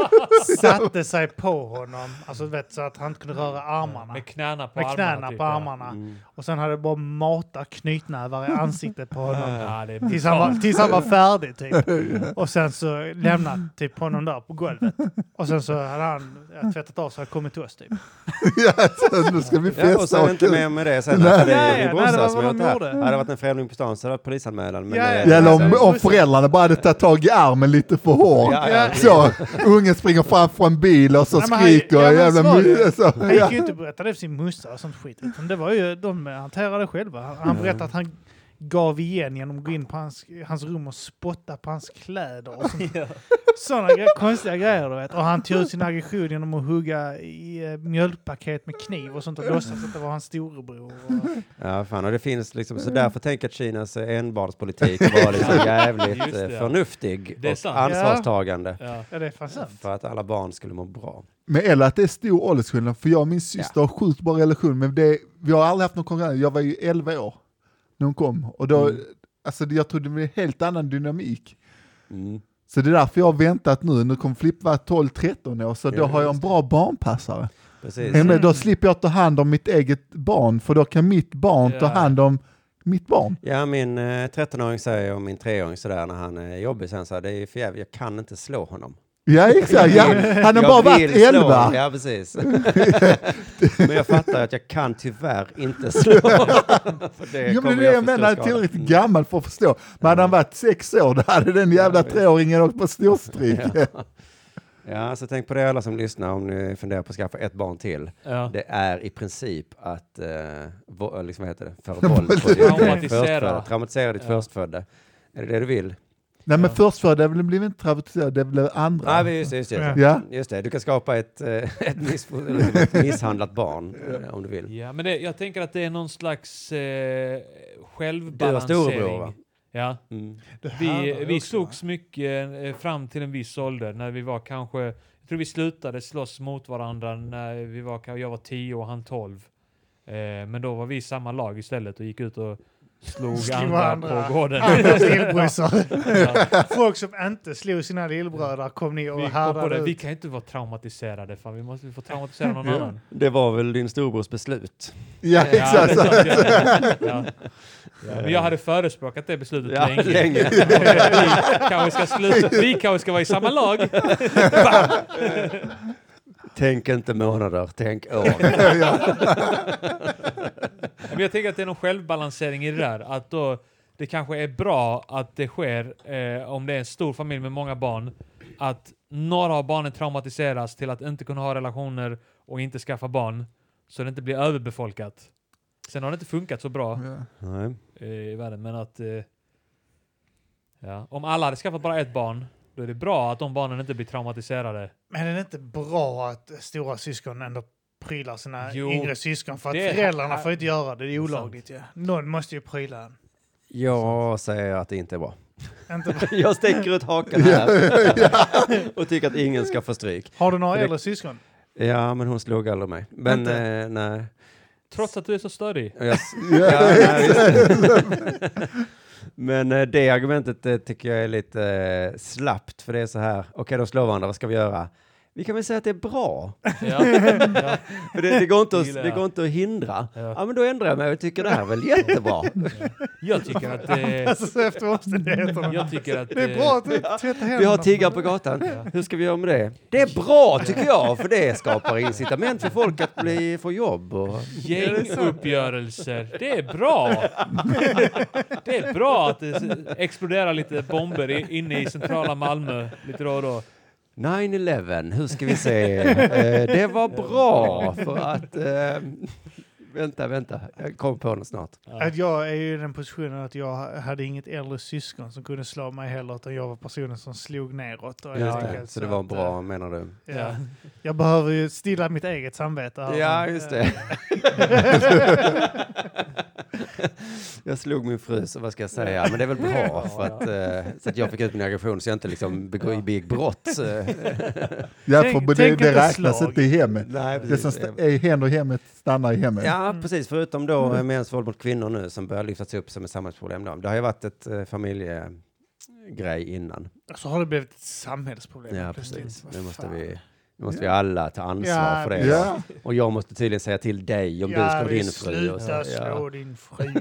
satte sig på honom. Alltså vet, så att han inte kunde röra armarna.
Med knäna på
Med
armarna.
knäna
typ,
på
ja.
armarna.
Mm.
Och sen hade det bara matat knytnävar i ansiktet på honom.
Ja, det är
Tills han, var,
brutalt.
tills han var färdig typ. Och sen så lämnat typ honom där på golvet. Och sen så hade han ja, tvättat av sig och kommit till oss typ.
ja, så nu ska vi
Ja, och så
festa.
är
och
det inte
kul.
mer med det sen.
Nej.
Nej, det
Nej,
är min
nej,
brorsa
det var
som
vad
alltså, har
de
gjort det här.
gjorde.
Hade det varit en främling på stan så hade det varit polisanmälan. Men
Ja,
det-
ja,
Ja, eller
Nej,
om,
det är
om
bussen.
föräldrarna bara hade tagit tag i armen lite för hårt.
Ja, ja.
Så, ungen springer fram från en bil och så
Nej, men han-
skriker
ja, men
jävla
så var det ju.
mu- så,
Han gick
ja.
ju inte och berättade det för sin morsa och sånt skit. Utan det var ju de hanterade själva. Han, han berättade att han gav igen genom att gå in på hans, hans rum och spotta på hans kläder och sånt. Sådana gre- konstiga grejer du vet. Och han tog ut sin aggression genom att hugga i eh, mjölkpaket med kniv och sånt och låtsas att det var hans storebror. Och,
Ja, fan, och det finns liksom,
Mm.
så därför tänker jag att Kinas eh, enbarnspolitik var liksom jävligt
Just det,
eh,
ja.
förnuftig
Det är
och
sant.
ansvarstagande.
Ja.
ja, det är fan sant.
För att alla barn skulle må bra.
Men eller att det är stor åldersskillnad, för jag och min syster har sjukt bra relation, men det, vi har aldrig haft någon konkurrens. Jag var ju 11 år när hon kom, och då, alltså, jag trodde det var en helt annan dynamik.
Mm.
Så det är därför jag har väntat nu, nu kommer Flipp vara 12-13 år, så då
Ja,
har jag en
just
bra barnpassare.
Precis.
Mm. Då slipper jag ta hand om mitt eget barn, för då kan mitt barn ta
Ja.
hand om mitt barn.
Ja, min eh, 13-åring säger och min 3-åring sådär när han är jobbig sen så här, det är för jävligt, jag kan inte slå honom.
Ja exakt, ja. han har
Jag
bara varit
vill slå
11.
honom. Ja, precis. Men jag fattar att jag kan tyvärr inte slå honom. För det
Jo
kommer
men det är
jag
det
för stor
jag menar, han är
skada.
tillräckligt
Mm.
gammal för att förstå. Men hade han varit sex år, då hade den jävla
Ja, visst.
treåringen åkt på storstryk.
Ja, så tänk på det alla som lyssnar om ni funderar på att skaffa ett barn till.
Ja.
Det är i princip att, eh, vo- eh, liksom vad heter det, föra våld på ditt
Traumatisera.
förstfödda. Traumatisera ditt
Ja.
förstfödda. Är det det du vill?
Nej men
Ja.
förstfödda blev väl inte traumatiserad, det blev andra.
Nej, just det, just det.
Ja.
Just det, du kan skapa ett, eh, ett, missfo- eller liksom ett misshandlat barn eh, om du vill.
ja, men det, jag tänker att det är någon slags eh,
Du har
självbalansering.
storebror va?
Ja.
Mm.
Det här var
Vi,
ju
vi
också, va?
slogs mycket eh, fram till en viss ålder när vi var kanske, jag tror vi slutade slåss mot varandra när vi var, kan- jag var 10 och han 12. Eh, men då var vi i samma lag istället och gick ut och slog
Slog
andra,
andra.
på gården.
Andra lillbröder.
Ja,
Folk som inte slog sina lillbröder kom ni och
vi, kom på
härdade
det. vi
ut.
kan ju inte vara traumatiserade, fan. vi måste vi får traumatisera någon annan.
Det var väl din storbrors beslut?
Ja
Ja,
exakt.
det är sant, ja. Ja. Men jag hade förespråkat det beslutet
Ja,
länge.
länge.
vi, kanske ska sluta, vi kanske ska vara i samma lag.
Tänk inte månader, tänk år.
Men jag tänker att det är någon självbalansering i det där. Att då, det kanske är bra att det sker, eh, om det är en stor familj med många barn, att några av barnen traumatiseras till att inte kunna ha relationer och inte skaffa barn, så det inte blir överbefolkat. Sen har det inte funkat så bra
Ja.
Nej.
eh, i världen, men att... Eh, ja. Om alla hade skaffat bara ett barn, då är det bra att de barnen inte blir traumatiserade.
Men är det inte bra att stora syskon ändå prylar sina
Jo,
yngre syskon för att
det är-
föräldrarna får inte göra det, det är
är
olagligt ju. Någon måste ju pryla en.
Jag säger att det inte är bra.
Inte,
Jag sticker ut hakan här och tycker att ingen ska få stryk.
har du några
Det-
äldre syskon?
Ja, men hon slog aldrig mig. Men
Inte?
eh, nej.
Trots att du är så störig.
Och Jag, ja, nej visst. men eh, det argumentet eh, tycker jag är lite eh, slappt, för det är så här, okej de slår varandra, vad ska vi göra? Vi kan väl säga att det är bra,
Ja. Ja.
för det, det, går, inte att,
Gillar
det
jag.
går inte att hindra.
Ja.
Ja, men då ändrar jag mig och tycker det här är väl jättebra.
Jag tycker att... Eh,
Alltså så efter omständigheterna.
jag tycker att...
Det är
eh,
bra att du tvättar händerna.
Vi har tiggare på gatan, hur ska vi göra med det? Det är bra tycker jag, för det skapar incitament för folk att bli, få jobb. Och...
Gänguppgörelser, det är bra! Det är bra att det s- exploderar lite bomber i, inne i centrala Malmö lite då och då.
9-11, hur ska vi se? Eh, det var bra för att... Eh, vänta, vänta, jag kom på något snart.
Att jag är ju i den positionen att jag hade inget äldre syskon som kunde slå mig heller, utan jag var personen som slog neråt. Och helt
Just det.
enkelt
Så det var
att,
bra, menar du?
eh, Ja. Jag behöver ju stilla mitt eget samvete. här,
Ja,
men,
just
eh,
det. jag slog min fru, så vad ska jag säga? Men det är väl bra, för att, eh, så att jag fick ut min aggression så jag inte liksom begå- begick brott. Eh,
Ja,
Tänk-
för det,
tänk
det
inte
räknas
slag.
inte i hemmet.
Nej,
Det som st- är, händer i hemmet stannar i hemmet.
Ja, precis. Förutom då mm. mäns våld mot kvinnor nu som börjar lyftas upp som ett samhällsproblem. Då. Det har ju varit ett eh, familjegrej innan.
Så Alltså, har det blivit ett samhällsproblem.
Ja,
plötsligt.
precis.
Vad
Nu måste
fan.
vi, nu måste vi alla ta ansvar
Ja,
för det. då.
Ja.
Och jag måste tydligen säga till dig om du
Ja,
slår
vi
din fru. Och så,
Sluta slå
ja.
din fru.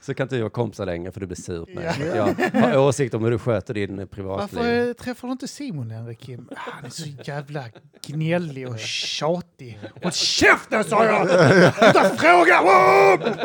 så kan inte jag vara kompisar längre för du blir sur på mig.
Ja.
för att Jag har åsikter om hur du sköter din eh,
Varför
privatliv.
eh, träffar du inte Simon längre, Kim? Han är så jävla gnällig och tjatig. Håll käften, sa jag! Sluta fråga! Wow!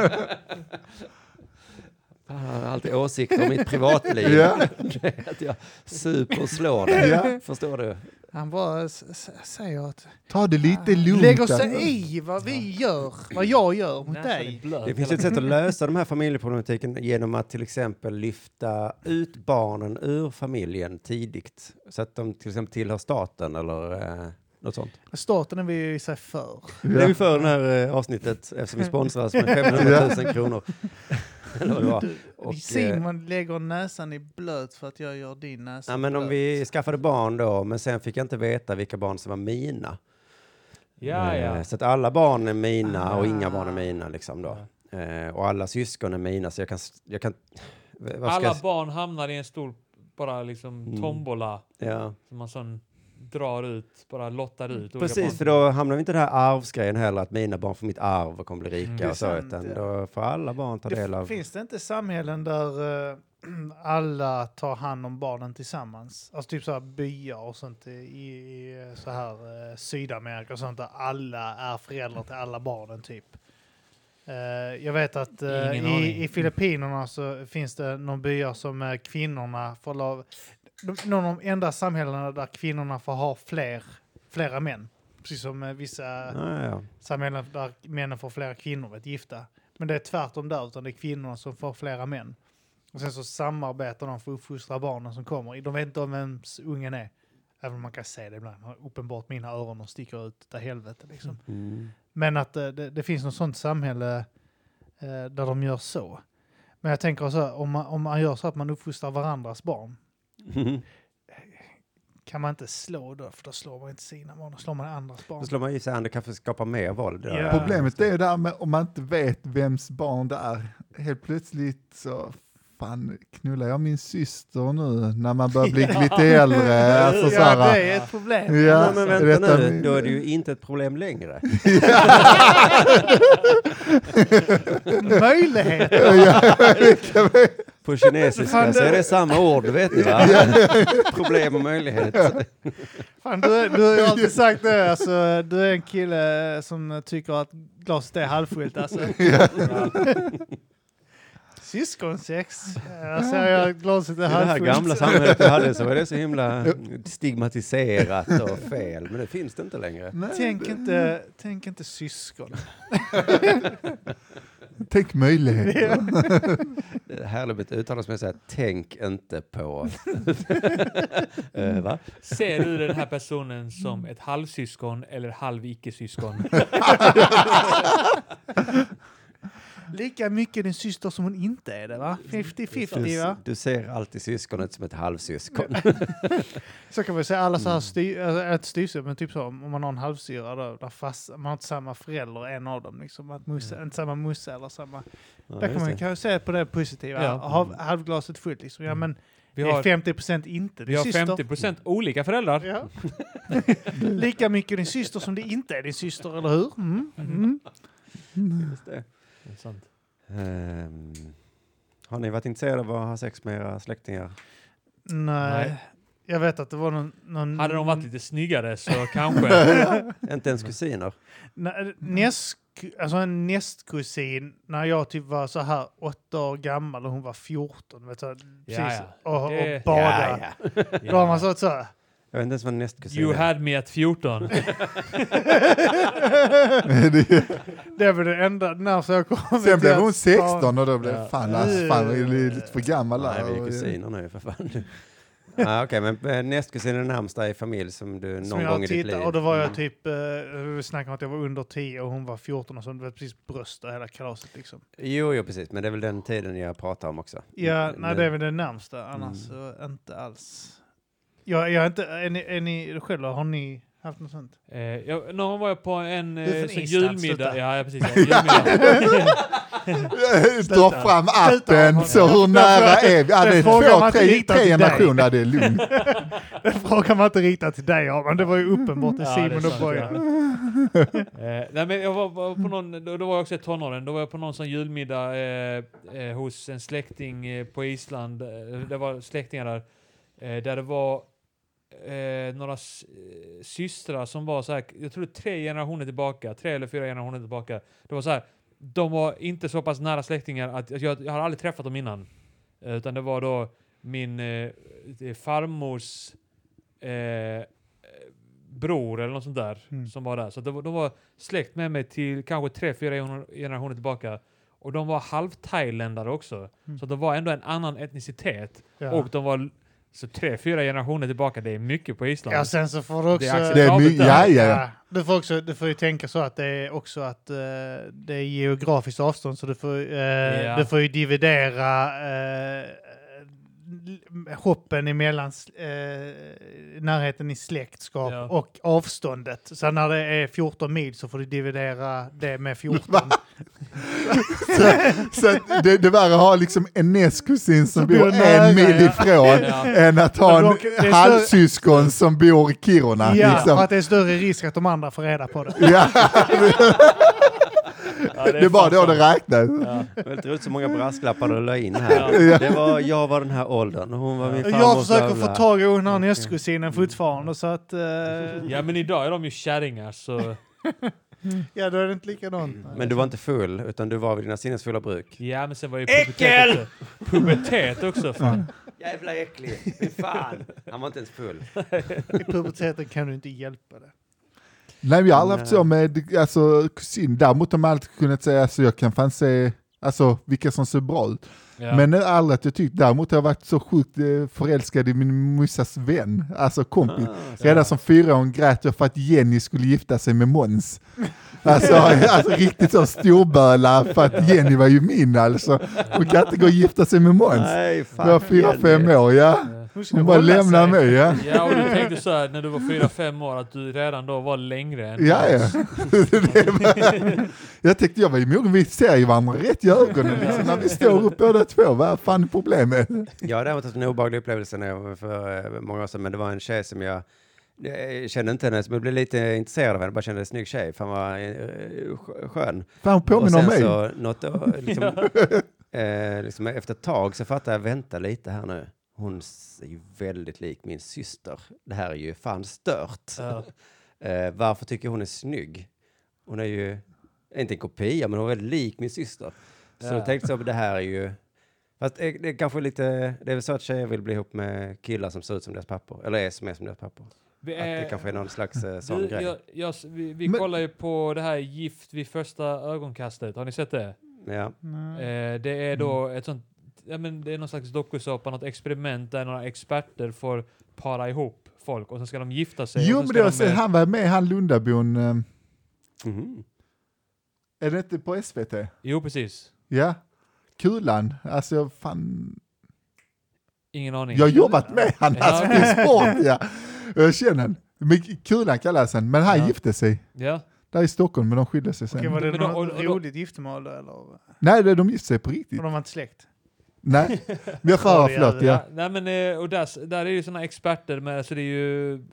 Fan, Han har alltid åsikter om mitt privatliv.
Ja.
Det är att jag super och slår dig.
Ja.
Förstår du?
Han bara s- s- säger att
Ta det lite lugnt.
lägger
alltså.
sig i vad vi gör, vad jag gör mot dig.
Det finns ett sätt att lösa de här familjeproblematiken genom att till exempel lyfta ut barnen ur familjen tidigt. Så att de till exempel tillhör staten eller eh, något sånt.
Staten är vi ju i sig för.
Det är vi för det här eh, avsnittet eftersom vi sponsras med 500 000 kronor. eller vad det var. Och, eh,
Simon lägger näsan i blöt för att jag gör din näsa
ja, men om
blöt.
vi skaffade barn då, men sen fick jag inte veta vilka barn som var mina.
Ja,
Eh,
ja.
Så att alla barn är mina och inga
Ah.
barn är mina liksom då. Eh, och alla syskon är mina så jag kan... s- Jag kan vad ska
Alla
jag, s-
barn hamnar i en stor bara liksom
Mm.
tombola
ja.
som man sån drar ut, bara lottar ut. olika barn.
Mm. Precis, för då hamnar vi inte i den här arvsgrejen heller, att mina barn får mitt arv och kommer bli rika
Mm.
och så,
Sant,
utan
ja.
då får alla barn ta del
det
av...
Finns det inte samhällen där eh, alla tar hand om barnen tillsammans? Alltså typ så här byar och sånt i, i eh, så här eh, Sydamerika och sånt där alla är föräldrar till alla barnen typ. Eh, jag vet att eh,
Ingen aning.
i, i Filippinerna så finns det någon byar som eh, kvinnorna får lov... de- Någon av de enda samhällena där kvinnorna får ha fler, flera män. Precis som eh, vissa
Ja, ja.
samhällen där männen får flera kvinnor vet, gifta. Men det är tvärtom där, utan det är kvinnorna som får flera män. Och sen så samarbetar de för att uppfostra barnen som kommer. De vet inte om vems ungen är. Även om man kan se det ibland. Uppenbart mina öron och sticker ut där helvete liksom.
Mm.
Men att eh, det, det finns något sånt samhälle eh, där de gör så. Men jag tänker så här, om man, om man gör så att man uppfostrar varandras barn. Kan man inte slå då? För då slår man inte sina barn, då slår man andras barn.
Då slår man ju sig an, det kanske skapar mer våld.
Ja.
Problemet är ju det här med om man inte vet vems barn det är. Helt plötsligt så, fan knullar jag min syster nu när man börjar bli lite äldre? Alltså, så
ja,
här,
det är ett problem. Alltså.
ja,
Nej, men vänta
detta-
nu, då är det ju inte ett problem längre.
möjlighet.
På
Fan,
kinesiska så
det-
är det samma ord, vet ni va? Problem och möjlighet.
Fan, du, du har ju alltid sagt det. Alltså, du är en kille som tycker att glaset är halvfullt. Alltså. Syskonsex. Alltså, Jag säger att glaset
I
är
det här
halvfullt.
gamla samhället vi hade så var det så himla stigmatiserat och fel, men det finns det inte längre.
Nej,
Tänk inte, tänk inte syskon.
tänk möjligheter.
Det är härligt med ett uttalande som jag säger, tänk inte på... Eh, va?
Ser du den här personen som ett halvsyskon eller halv icke-syskon?
Lika mycket din syster som hon inte är det va? 50-50 va?
Du, du ser alltid syskonet som ett halvsyskon.
Så kan man ju säga alla så
Mm.
här styr, äh, ett styvsyskon, men typ så om om man har en halvsyra då, där fast, man har inte samma förälder, en av dem liksom, att musse,
Mm.
inte samma musse eller samma.
Ja,
där kan
just
man
det.
ju kanske se på det positiva,
Ja.
Halv, halvglaset fullt liksom, ja
Mm.
men
Vi
det är
har,
50% inte
vi
din
har
syster.
50% olika föräldrar.
Ja. Lika mycket din syster som det inte är din syster, eller hur? Mm. Mm.
Just det. Ehm, har ni varit intresserade av att ha sex med era släktingar?
Nej.
Nej.
Jag vet att det var någon... någon
Hade de varit lite snyggare så kanske.
Inte ens kusiner?
Mm.
Nä- Näst, alltså en nästkusin, när jag typ var så här åtta år gammal och hon var 14, vet du, precis,
ja.
Och, och
Det-
bada.
ja.
Då har man sagt så här.
Jag vet inte ens vad nästkusin
You
är.
had me at 14.
Det var det enda, när så jag kom
Sen
till
blev
att-
hon 16 och då blev
Ja.
fan, alltså, fan, jag är lite för gammal
Nej,
där.
vi är kusiner nu för fan. ah, Okej, men eh, nästkusin är den närmsta i familj som du någon
Som
gång
jag
i ditt liv... Mm.
tittade, och då var jag typ, eh, vi snackade om att jag var under 10 och hon var 14 och så, det var precis bröst och hela kalaset liksom.
Jo, jo, precis, men det är väl den tiden jag pratar om också. Mm.
Ja,
Men-
nej, det är väl det närmsta. Annars
Mm.
så inte alls. Jag, jag är inte... Är ni, är ni själva, har ni haft något sånt?
Eh, jag, någon gång var jag på en
är
eh,
från
så
Island,
julmiddag.
sluta.
Ja, ja, precis. Ja, julmiddag.
Dra fram appen, så hur nära är vi? Ja, det
Den frågan var
är två,
inte
tre,
riktad
tre
till dig.
generationer, det är lugnt.
Den frågan var inte riktad till dig, men det var ju uppenbart till
Ja, det är
Simon och
sant, ja.
Bojan.
Eh, nej, men jag var, var på någon, då, då var jag också i tonåren, då var jag på någon sån julmiddag eh, eh, hos en släkting eh, på Island, eh, det var släktingar där, eh, där det var eh, några s- eh, systrar som var så här, jag tror tre generationer tillbaka, tre eller fyra generationer tillbaka. Det var så här, de var inte så pass nära släktingar att att jag, jag har aldrig träffat dem innan. Eh, utan det var då min eh, eh, farmors eh, eh, bror eller något sånt där
Mm.
som var där. Så att de, var- de var släkt med mig till kanske tre, fyra gener- generationer tillbaka. Och de var halvthailändare också.
Mm.
Så de var ändå en annan etnicitet.
Ja.
Och de var l- så tre, fyra generationer tillbaka. Det är mycket på Island.
ja, sen så får du
Det
också...
är
Det är my-
acceptabelt.
ja, ja, ja.
Ja, du, får också, du får ju tänka så att det är också att eh, det är geografiskt avstånd så du får, eh,
Ja.
du får ju dividera eh, hoppen emellan eh, närheten i släktskap
Ja.
och avståndet. Så när det är 14 mil så får du dividera det med 14.
Så, så att det, det är värre att ha liksom en nästkusin som
bor
bor
nära,
en mil
ja.
ifrån
Ja.
än att ha
Men
en
dock, det är större-
halvsyskon som bor i Kiruna.
ja,
liksom.
för att det är större risk att de andra får reda på det.
ja.
Ja,
Det är bara då
fan
det
sant.
räknas.
Ja.
Väldigt roligt så många brasklappar du la in här.
Ja.
Det var, jag var den här åldern och hon var min farmors
Jag försöker få
gamla.
tag i den här nästkusinen fortfarande så att... eh,
ja, men idag är de ju kärringar så...
ja, då är det inte likadant.
Men du var inte full, utan du var vid dina sinnesfulla bruk.
Ja, men sen var ju
Äckel!
pubertet också. Pubertet också. Fan.
Jävla äcklig, fy fan. Han var inte ens full.
I puberteten kan du inte hjälpa det.
Nej, jag har aldrig haft
Nej.
så med alltså, kusin. Däremot har man alltid kunnat säga, alltså, jag kan fan se alltså, vilka som ser bra ut.
Ja.
Men det är aldrig att jag tyckt, däremot har jag varit så sjukt eh, förälskad i min mussas vän, alltså kompis. Redan som fyraåring grät jag för att Jenny skulle gifta sig med Måns. Alltså, alltså riktigt så storböla, för att Jenny var ju min alltså. Hon kan inte gå och gifta sig med Måns.
Nej,
Jag var
fan.
fyra, fem år, ja.
Hon skulle
Hon bara
hålla
lämnar
sig.
mig, ja.
Ja, och du tänkte så här när du var fyra fem år att du redan då var längre än
Ja, ja. Det var- jag tänkte, jag var ju mogen, vi ser ju varandra rätt i ögonen liksom, när vi står upp båda två, vad fan är problemet?
Jag har däremot haft en obehaglig upplevelse när jag var för eh, många år sedan, men det var en tjej som jag jag kände inte henne, men jag blev lite intresserad av henne. Bara kände en snygg tjej. Fan vad eh, skö- skön.
Fan, hon påminner om
och sen
mig.
så något, eh, liksom, eh, liksom efter ett tag så fattade jag, vänta lite här nu. Hon s- är ju väldigt lik min syster. Det här är ju fan stört.
Ja.
Eh, varför tycker jag hon är snygg? Hon är ju, inte en kopia, men hon är väldigt lik min syster. Så
Ja.
jag tänkte så, men det här är ju... Fast det det är kanske lite, det är väl så att tjejer vill bli ihop med killar som ser ut som deras pappor, eller är som är som deras pappor.
Vi,
Att det
eh,
kanske är någon slags eh, sån
du,
grej.
jag, jag, vi vi
Men-
kollar ju på det här Gift vid första ögonkastet. Har ni sett det?
Ja.
Nej.
Eh, det är då
Mm.
ett sånt, ja, men det är någon slags dokusåpa, något experiment där några experter får para ihop folk och sen ska de gifta sig.
Jo,
och sen
men
ska
det var,
de,
så-
eh,
han var med, han Lundabon, eh,
Mhm.
är det inte på SVT?
Jo, precis.
Ja, kulan. Alltså jag fan,
Ingen aning.
jag har jobbat med han
Ja.
alltså, i sport ja. Jag känner han. Men Kulan kallas han, men han
Ja.
gifte sig.
Ja.
där i Stockholm, men de skilde sig sen.
Okej, var det
Men då-
något
och- och då-
roligt giftermål då, eller? Och
Nej, det- de gifte sig på riktigt.
de var inte släkt?
Nej, vi har förra,
Sorry,
förlåt.
Alvin.
Ja.
Ja, nej men eh, och där, där är ju sådana experter med, alltså det är ju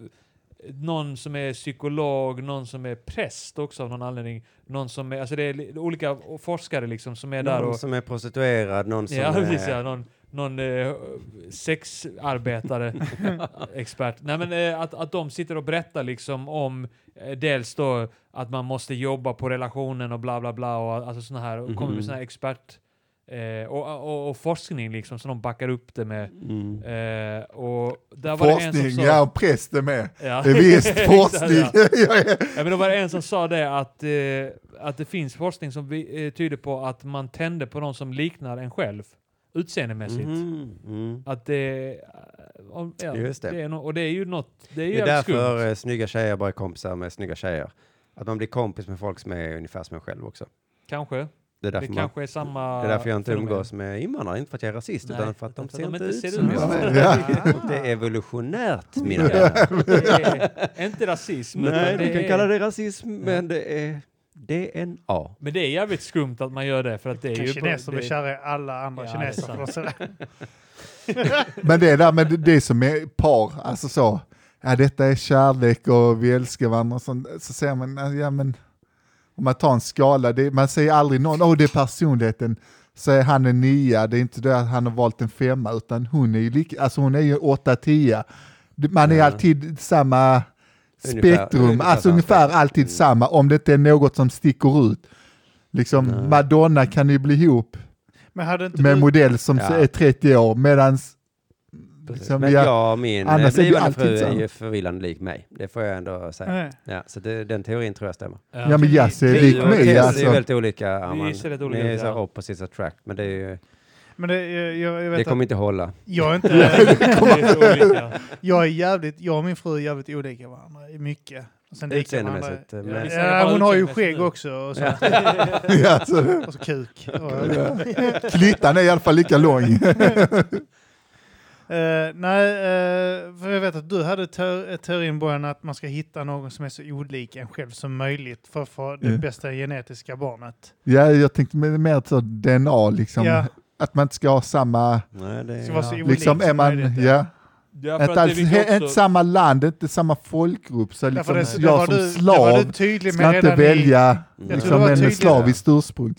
någon som är psykolog, någon som är präst också av någon anledning, någon som är, alltså det är li- olika forskare liksom som är där
Mm.
Någon
och...
som är prostituerad, någon som
Ja,
är...
precis ja, någon, någon eh, sexarbetare, expert. Nej men eh, att, att de sitter och berättar liksom om eh, dels då att man måste jobba på relationen och bla bla bla och alltså sådana här, och kommer
Mhm.
med sådana här expert... Eh, och, och, och forskning liksom, så de backar upp det med.
Mm.
Eh, och där var det en som
Forskning,
sa...
ja, och präst är med.
Ja.
Det är Visst, forskning.
Exakt, ja.
Ja, ja.
Ja, men då var det en som sa det att, eh, att det finns forskning som vi, eh, tyder på att man tänder på någon som liknar en själv utseendemässigt.
Mhm. Mm.
Att det... eh, om- ja,
Just det.
är no- och det är ju något... Det är ju
Det är
jävligt
därför
skumt.
eh, snygga tjejer bara är kompisar med snygga tjejer. Att man blir kompis med folk som är ungefär som en själv också.
Kanske.
Det är
Det
därför, man,
kanske är samma...
det är därför jag inte
fenomen.
umgås med invandrare, inte för att jag är rasist,
Nej,
utan för att de
utan
ser
de
inte
inte
ut
ser
som
ut
jag.
som Mm.
Ja.
Det är evolutionärt, mina
Ja,
vänner.
det är inte rasism.
Nej,
utan
du kan
är,
kalla det rasism, men det är DNA.
Men det är jävligt skumt att man gör det för att det är ju...
Kineser blir
det,
kära i alla andra
Ja, det är
kineser. för
sant.
de ser-
Men det där med det som är par, alltså så, ja detta är kärlek och vi älskar varandra och sånt, så säger man, ja ja, men, om man tar en skala, det, man säger aldrig någon, åh det är personligheten, säger han en nia, det är inte det att han har valt en femma, utan hon är ju lika, alltså hon är ju åtta, tia. Det- Man är
Ja.
alltid samma
Ungefär-
spektrum,
ungefär
alltså
samma
ungefär
spektrum.
alltid
Mm.
samma, om det inte är något som sticker ut. Liksom,
Nej.
Madonna kan ju bli ihop
Men hade inte
med en
du...
modell som
Ja.
är 30 år, medans Som
Men
jag-
jag och min eh,
annars är det
blivande
alltid
fru är
samma.
ju förvillande lik mig. Det får jag ändå säga.
Nej.
Ja, så det, den teorin tror jag stämmer.
Ja men Jazz är lik
och Tess
mig
är ju
alltså.
väldigt olika. Arman.
Vi är så rätt olika,
Ni är så här
ja.
opposite attract, men det, är ju,
Men det, jag, jag, jag
det
vet
kommer
att
inte hålla.
jag är inte...
Det är så olika.
Jag är jävligt... Jag och min fru är jävligt olika varandra i mycket. Och sen lika varandra.
Utseendemässigt. eh,
Ja,
Men,
visst.
Ja, hon har ju skägg också och så.
Ja, alltså.
Och så kuk. Och,
Klittan är i alla fall lika lång.
Eh, nej, eh, för jag vet att du hade te- teorin Bojan att man ska hitta någon som är så olik en själv som möjligt för att få det
Ja.
bästa genetiska barnet.
Ja, jag tänkte mer- mer så DNA liksom.
Ja.
Att man inte ska ha samma,
nej, det
Ska vara
är,
så olik
liksom är
som
man,
möjligt.
ja.
Ja, för att
Inte,
det är
alls, he,
viktigt
inte
också.
samma land, inte samma folkgrupp. Så
Därför
liksom,
det, det var
jag som
du, det var du
slav
tydlig med
ska inte
redan i,
välja
tror
det
liksom,
var
en med
tydligt.
slaviskt ursprung.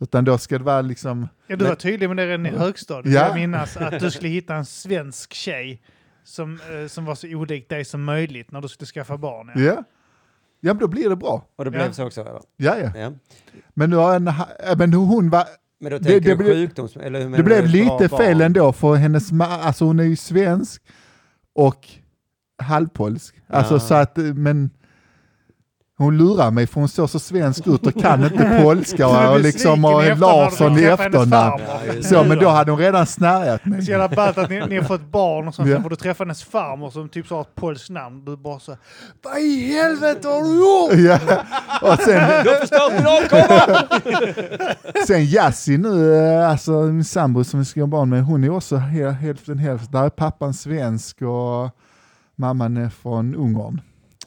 Utan då ska det vara liksom,
ja, du var tydlig med det redan i högstadiet.
Ja.
Jag minns att du skulle hitta en svensk tjej som, eh, som var så olik dig som möjligt när du skulle skaffa barn. Ja.
ja. Ja men då blir det bra.
och det blev
Ja.
så också? Eller?
Ja ja.
Ja.
Men nu har en, ha- äh, men hon var,
Men då
Det-
tänker
det
du
blev-
sjukdoms... Eller hur menar
det
du?
eh,
blev
Ett bra
lite
barn?
fel ändå för hennes ma- alltså hon är ju svensk och halvpolsk. Alltså
Ja.
så att, eh, men hon lurar mig för hon ser så svensk ut och kan inte polska och, och liksom och Larsson i efternamn.
Ja, just
Så, men då hade hon redan snärjat
Det är så
mig.
jävla ballt att ni, ni har fått barn och så
Ja.
sen får du träffa hennes farmor som typ sa ett polskt namn. Du bara så Vad i helvete har du gjort?
Ja. Och sen,
Du har förstört min avkomma!
sen Jassi nu, eh, alltså min sambo som vi ska ha barn med, hon är också he- hälften hälften. Där är pappan svensk och mamman är från Ungern.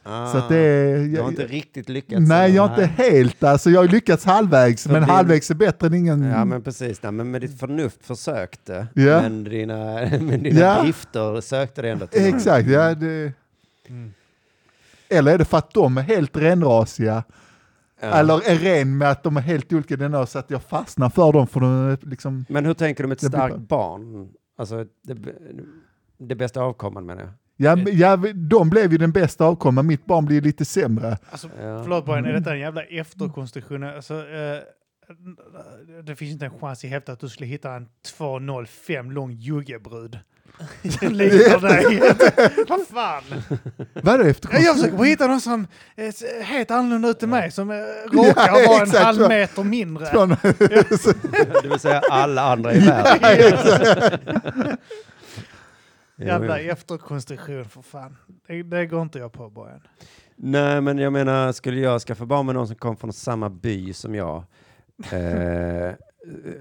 Ah,
Så att det är...
Du har inte riktigt lyckats.
Nej, jag har
Nej.
inte helt. Alltså, jag har lyckats halvvägs, men
din-
halvvägs är bättre än ingen.
Ja, men precis. Nej, men med ditt förnuft försökte.
Ja.
Men dina, men dina
Ja.
drifter sökte det ändå till. någon.
Exakt, ja. Det...
Mm.
Eller är det för att de är helt renrasiga?
Ja.
Eller är ren med att de är helt olika denna så att jag fastnar för dem för de är liksom...
Men hur tänker du om ett
Jag blir
starkt
bara-
barn? Alltså, det, det bästa avkomman menar jag.
Ja, men- ja, de blev ju den bästa avkomman, mitt barn blir lite sämre.
Alltså,
Ja.
förlåt Brian, är detta en jävla efterkonstruktion? Alltså, eh, det finns inte en chans i helvete att du skulle hitta en 205 lång juggebrud. Som liknar dig. Vad fan?
Vad är det efter?
Ja, Jag försöker bara hitta någon som är helt annorlunda ut än mig, som eh, råkar
Ja,
vara en
exakt.
halv meter mindre.
Från-
Det vill säga alla andra i världen. Jo,
Jävla
jo.
efterkonstruktion för fan. Det, det går inte jag på Bojan.
Nej, men jag menar, skulle jag skaffa barn med någon som kom från samma by som jag, eh,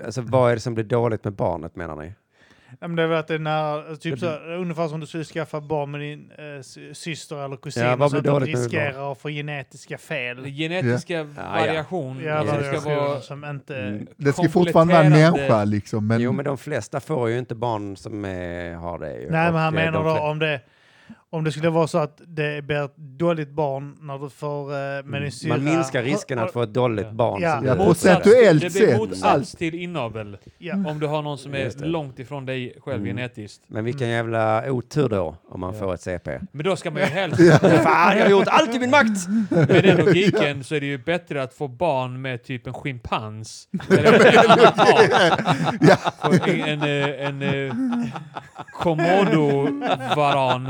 Alltså vad är det som blir dåligt med barnet menar ni?
Ja, men det är väl att det är nära, typ så, här, ungefär som du skulle skaffa barn med din eh, sy- syster eller kusin
Ja, vad
så att
blir
de
dåligt med
riskerar att få genetiska fel.
Genetiska
ja.
variation.
Ja,
det
som
variationer
ska vara
som inte...
Mm,
Det ska fortfarande vara en
kompletterande-
människa liksom. Men,
Jo, men de flesta får ju inte barn som eh, har det. Ju.
Nej, men han
Och, eh,
menar
de
då
fle-
om det, om det skulle vara så att det blir ett dåligt barn när du får eh, med din syrra.
Mm. Man minskar risken att få ett dåligt
Ja.
barn.
Ja.
som
Ja,
blir
Motsats-
utsatt.
procentuellt
Det blir
sett,
motsats
allt.
till inavel.
Ja.
Om du har någon som
Just
är
det.
långt ifrån dig själv
Mm.
genetiskt.
Men vilken jävla otur då om man
Ja.
får ett CP.
Men då ska man ju helst...
Fan, jag har gjort allt i min makt!
Med den logiken så är det ju bättre att få barn med typ en schimpans. Eller en annan art. Få En, en, eh, en, eh, komodovaran.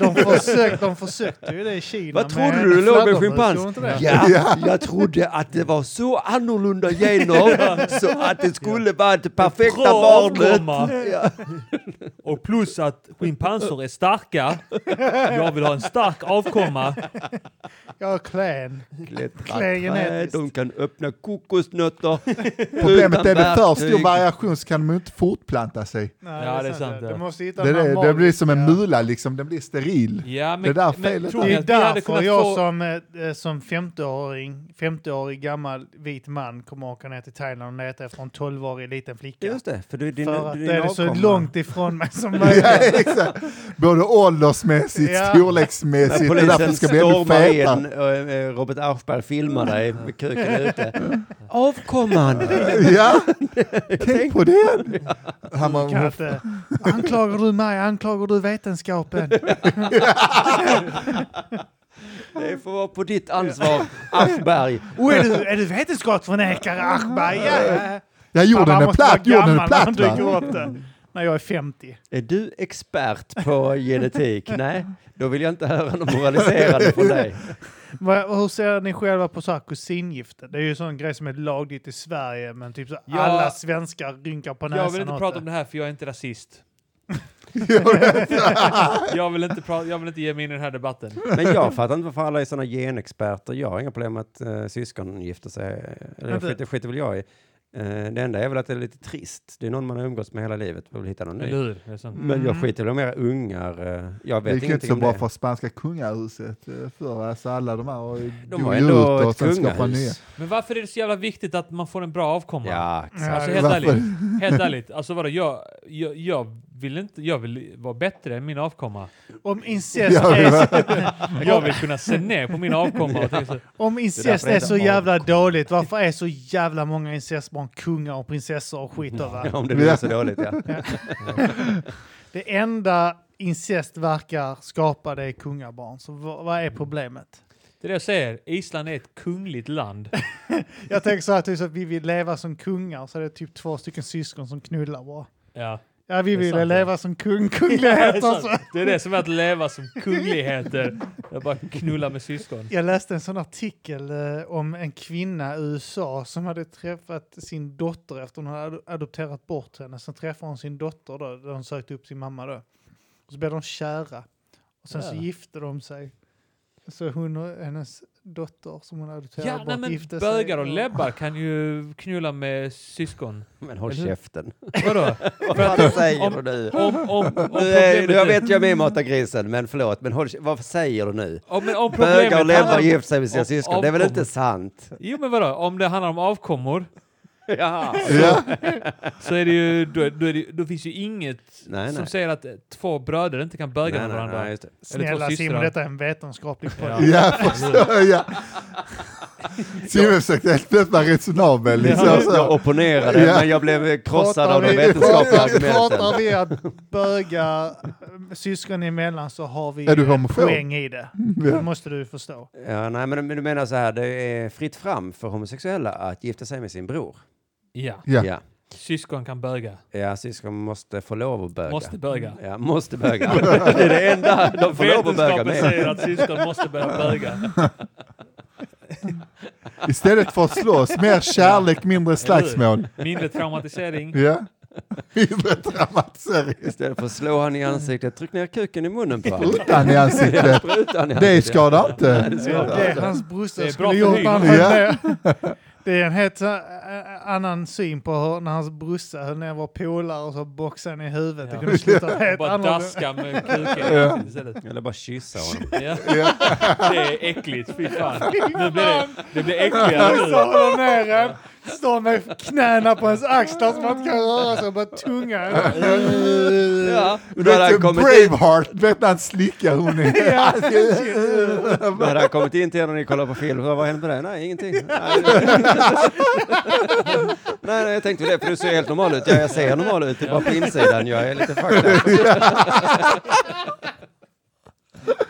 De, försökte, de försökte ju det i Kina.
Vad trodde
med
du det låg med
fladdermus,
schimpans?
gjorde inte det?
Ja, jag trodde att det var så annorlunda gener så att det skulle vara det perfekta
Bra
barnet.
avkomma.
Ja.
Och plus att schimpanser är starka. Jag vill ha en stark avkomma.
Jag är klen.
Klättra
Klen
träd,
genetiskt.
de kan öppna kokosnötter.
problemet är
Utan
det för stor
verktyg.
variation så kan de ju inte fortplanta sig.
Nej,
Ja, det är sant, ja.
Du måste hitta
Det, är
en
det,
normal-
det blir som en
Ja.
mula liksom, den blir steril.
Ja, men,
Det där
men
felet
tror
Det
där.
ni
är
att vi hade
därför
kunnat
jag
få...
som, eh, som 50-åring, 50-årig gammal vit man kommer att åka ner till Thailand och leta efter en 12-årig liten flicka.
Just det, för du är din,
för att
din
det är så
avkomma.
långt ifrån mig som möjligt.
Ja, exakt. Både åldersmässigt,
Ja.
När
storleksmässigt, det är därför
polisen
det ska bli ännu
stormar
fetare.
in och eh, Robert Aschberg filmar dig med kuken ute. Avkomman!
Ja, tänk på det. Han
Kan jag
var,
inte, eh, anklagar du mig? Anklagar du vetenskapen?
Det får vara på ditt ansvar, Aschberg.
Oh, är, du, är du vetenskapsförnekare, Aschberg? Ja, ja.
ja, jorden
Pappa
är
måste
platt,
vara
jorden är
gammal
platt
när han dyker
va?
upp det. När jag är 50.
Är du expert på genetik? Nej, då vill jag inte höra något moraliserande från dig.
Vad- Hur ser ni själva på så här kusingifte? Det är ju en sån grej som är lagligt i Sverige, men typ så
Ja.
alla svenskar rynkar på näsan
Jag vill inte
åt
prata om det här för jag är inte rasist. jag, vill inte prata, jag vill inte ge mig in i den här debatten.
Men jag fattar inte varför alla är sådana genexperter. Jag har inga problem med att eh, syskon gifter sig. Eller det
Vänta.
skiter, skiter väl jag i. Eh, det enda är väl att det är lite trist. Det är någon man har umgåtts med hela livet. Jag vill hitta någon
Eller Mm.
ny.
hur? Det är sant.
Men jag skiter väl i om era ungar. eh, Jag
Det
vet
gick ju inte
ingenting
så
om
bra
det.
för spanska kungahuset eh, förr. Alltså alla de här har ju
De har
ju
ändå
ut
ett
och sen skapar nya.
kungahus.
Men varför är det så jävla viktigt att man får en bra avkomma?
Ja, exakt.
Alltså helt ärligt, helt ärligt. Alltså vadå, jag, jag, jag vill inte, jag vill vara bättre än min avkomma.
Om incest
Ja, det
är,
Jag vill kunna se ner på min avkomma och tänka så,
om incest
det
är
är
så
en
jävla dåligt, varför är så jävla många incestbarn kungar och prinsessor och skit över?
om det blir så dåligt, ja.
Det enda incest verkar skapa det är kungabarn. Så vad, vad är problemet?
Det är det jag säger, Island är ett kungligt land.
Jag tänker så här, typ så att vi vill leva som kungar, så är det typ två stycken syskon som knullar bara.
Ja.
Ja, vi
Det är
vill
sant,
leva som kung, kunglighet
det, är
och så.
sant. Alltså, det är det som är att leva som kungligheter. Jag bara knulla med syskon.
Jag läste en sån artikel eh, om en kvinna i USA som hade träffat sin dotter efter hon hade ad- adopterat bort henne. Sen träffade hon sin dotter då, där hon sökte upp sin mamma då. Och så blev de kära. Och sen så
Ja.
gifte de sig. Så hon och hennes dotter som hon adopterade
Ja,
bort
nej, men
gifte sig.
bögar och läbbar kan ju knulla med syskon.
Men håll
Eller hur?
käften.
Vadå?
Vad säger du
om-
nu?
Om, om, om
Nu är-
problemet
nu- Jag
är...
vet jag är med i Mata grisen, men förlåt. Men håll, kä- vad säger du nu?
Om, men om problemet
Bögar och läbbar
handlar om-
gift sig med sina
om-
syskon. Det är väl
avkommor.
inte sant?
Jo men vadå, om det handlar om avkommor
Ja.
Ja,
så är det ju, då, då, är det, då finns ju inget
Nej,
som
nej.
säger att eh, två bröder inte kan böga med varandra.
just det.
Eller
Snälla Simon,
två systrar.
detta är en vetenskaplig podd.
Ja.
ja, förstår jag. Simon försökte helt plötsligt vara resonabel. Liksom,
Jag, jag
så.
opponerade,
Ja.
men jag blev eh, krossad
Pratar
av de
vi-
vetenskapliga
pratar-
argumenten.
Pratar vi att böga eh, syskon emellan så har vi
Är du
eh,
homofob?
poäng i det. Det måste du förstå.
Ja, nej, men men du menar så här, det är fritt fram för homosexuella att gifta sig med sin bror.
Ja,
Ja.
Ja,
syskon kan böga.
ja syskon måste få lov att böga.
Måste böga.
Ja, måste böga. det är det enda de får lov att böga
Vetenskapen
med.
säger att syskon måste börja böga.
Istället för att slåss, mer kärlek, mindre slagsmål.
Mindre traumatisering.
Ja. Mindre dramatisering.
Istället för att slå han i ansiktet, tryck ner kuken i munnen på honom.
Utan i ansiktet.
Sprutan i
Det
ansiktet.
skadar inte.
Det är hans brorsa
Det är bra
skulle gjort
förhyrning.
när han höll
Ja.
med. Det är en helt eh, annan syn på hur, när hans brorsa höll ner vår polare och så boxade han i huvudet.
Ja.
Det kunde sluta
Och
helt
bara
annorlunda.
daska med kuken istället.
Eller bara kyssa honom.
Ja. Det är äckligt, fy fan. Nu blir det, det blir äckligare
Och så
nu.
håller han ner en, står med knäna på hans axlar som man inte kan röra sig, och bara tunga.
Ja,
Du
då hade han
vet
kommit in,
Braveheart, vet när han slickar hon är.
Ja,
då hade han kommit in till er när ni kollade på film. Så, Vad hände med dig? Nej, ingenting. Nej, nej, nej, jag tänkte väl det, för du ser helt normal ut. Ja, jag ser normal ut, det är bara på insidan. Jag är lite fucked up.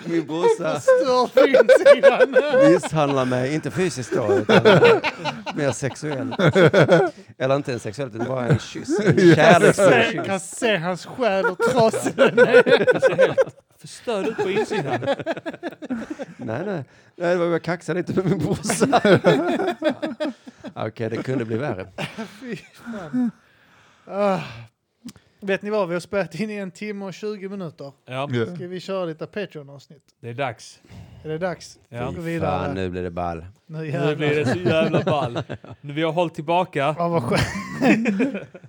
Min brorsa
Stör på insidan.
misshandlar mig, inte fysiskt då, utan mer sexuellt. Eller inte ens sexuellt, det var en kyss. En kärleksfull
Se-
kyss.
Kan se hans själ och trasig den är.
Det ser helt förstörd ut på insidan.
Nej, nej. nej det var jag kaxade lite med min brorsa. Okej, det kunde bli värre.
Fy fan. Ah. Vet ni vad, vi har spelat in i en timme och 20 minuter.
Ja,
Ja.
Ska vi köra lite Patreon-avsnitt?
det är dags.
Är det dags?
Ja.
Vi går
Fy
vidare.
Fan, nu blir det ball.
Nu
Nu blir
jävlar.
det så jävla ball. Nu vi har hållit tillbaka.
Ja, vad skönt.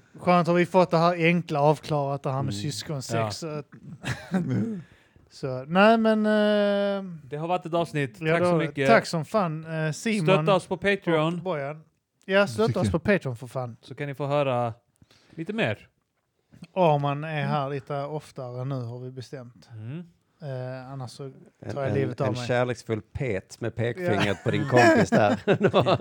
skönt har vi fått det här enkla avklarat, det här
Mm.
med syskonsex. Så, nej men... eh,
Det har varit ett avsnitt.
ja,
Tack så
då-
mycket.
Tack som fan eh, Simon.
Stötta oss på
och
Patreon Mm.
Bojan. Ja, stötta oss på Patreon för fan.
så kan ni få höra lite mer.
Arman är här lite oftare nu har vi bestämt.
Mm.
Eh, annars så...
En,
Tar jag livet
en,
av
en
mig.
kärleksfull pet med pekfingret på din kompis där. det, var,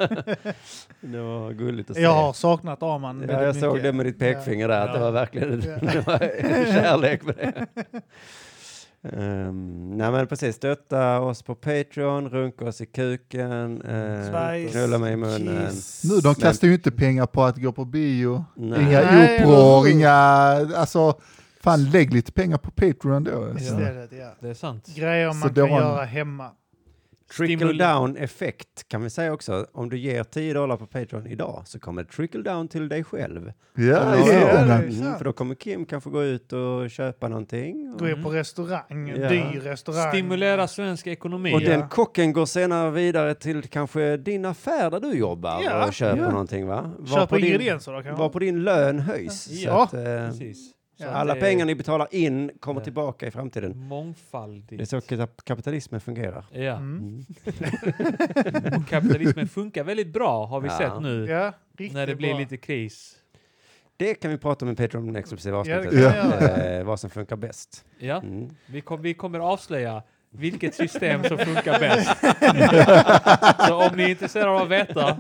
det var gulligt att se.
Jag har saknat Arman väldigt
ja, jag
mycket.
såg det med ditt pekfinger där, att det
Ja.
var verkligen
Ja.
det var kärlek med det. Um, nej men precis, stötta oss på Patreon, runka oss i kuken, eh,
Spice,
knulla mig i munnen.
kiss.
Nu, de
Men-
kastar ju inte pengar på att gå på bio.
Nej.
Inga
Nej,
operor,
eller hur?
inga... Alltså, fan lägg lite pengar på Patreon då. Alltså.
Istället, ja.
Det är sant.
Grejer man
Så
kan
det var en-
göra hemma.
Trickle
Stimul-
down effekt kan vi säga också. Om du ger 10 dollar på Patreon idag så kommer det trickle down till dig själv.
Ja,
Om
just
några
ja,
år.
det.
det är
mm,
sant.
för då kommer Kim kanske gå ut och köpa någonting. Och,
Gå in på restaurang,
Ja.
dyr restaurang.
Mm. Stimulera svensk ekonomi.
och den kocken går senare vidare till kanske din affär där du jobbar
Ja,
och köper
ja.
någonting va? Var
Köp
på din,
ingredienser då
var
kanske.
på din lön höjs.
Ja,
så att, eh,
Precis. Så
Ja.
att
alla
det är
pengar ni betalar in kommer
Ja.
tillbaka i framtiden. Det är
Mångfaldigt.
så kap- kapitalismen fungerar.
Ja.
Mm.
Mm.
Och kapitalismen funkar väldigt bra har vi
Ja.
sett nu.
Ja, riktigt
När det blir
bra.
lite kris.
Det kan vi prata om i Patreon i det exklusiva
Ja, det
avsnittet.
kan
Ja.
jag göra.
Eh, vad som funkar bäst.
Ja.
Mm.
Vi, kom, vi kommer avslöja vilket system som funkar bäst. så om ni är intresserade av att veta.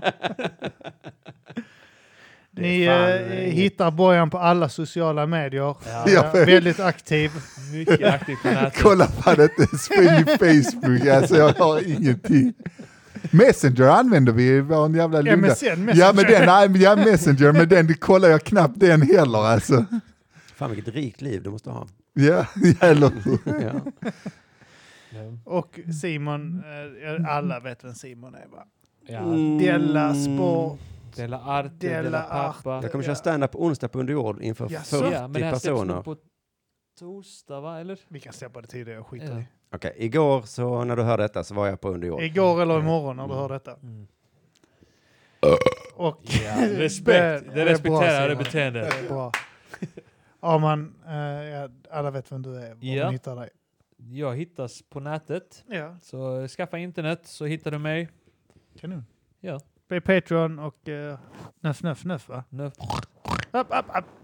Det
Ni
är fan
eh,
inget-
hittar Bojan på alla sociala medier.
Ja.
Ja, väldigt aktiv.
Mycket aktivt på nätet.
Kolla fan inte ens på min Facebook, alltså jag har ingenting. Messenger använder vi i vår jävla lunda.
MSN, Messenger.
Ja men den, nej, men ja, Messenger, men den kollar jag knappt den heller alltså.
Fan vilket rikt liv du måste ha.
Ja, ja, eller hur?
Ja.
Ja.
Och Simon, eh, alla vet vem Simon är va?
Mm.
Ja.
Della Sport.
Dela Arte,
Della
Dela,
Arte.
Pappa.
Jag kommer
Ja.
köra stand-up onsdag på Under jord inför
Jaså?
40
Ja, men det här släpps
personer.
nog på torsdag va? Eller?
Vi kan släppa det tidigare, jag skiter
Ja.
i.
Okej, igår så när du hörde detta så var jag på Under jord.
Igår eller imorgon när du hör detta.
Mm.
Och
Ja, respekt.
Det är
Det
bra,
respekterar det
Simon.
beteendet.
det är bra. Arman, eh, ja, alla vet vem du är, var
Ja.
man hittar dig.
Jag hittas på nätet.
Ja,
Så eh, skaffa internet så hittar du mig.
kanon.
Ja.
Bli Patreon och eh, nöff, nöff, nöff va?
Nu
Upp, upp, upp.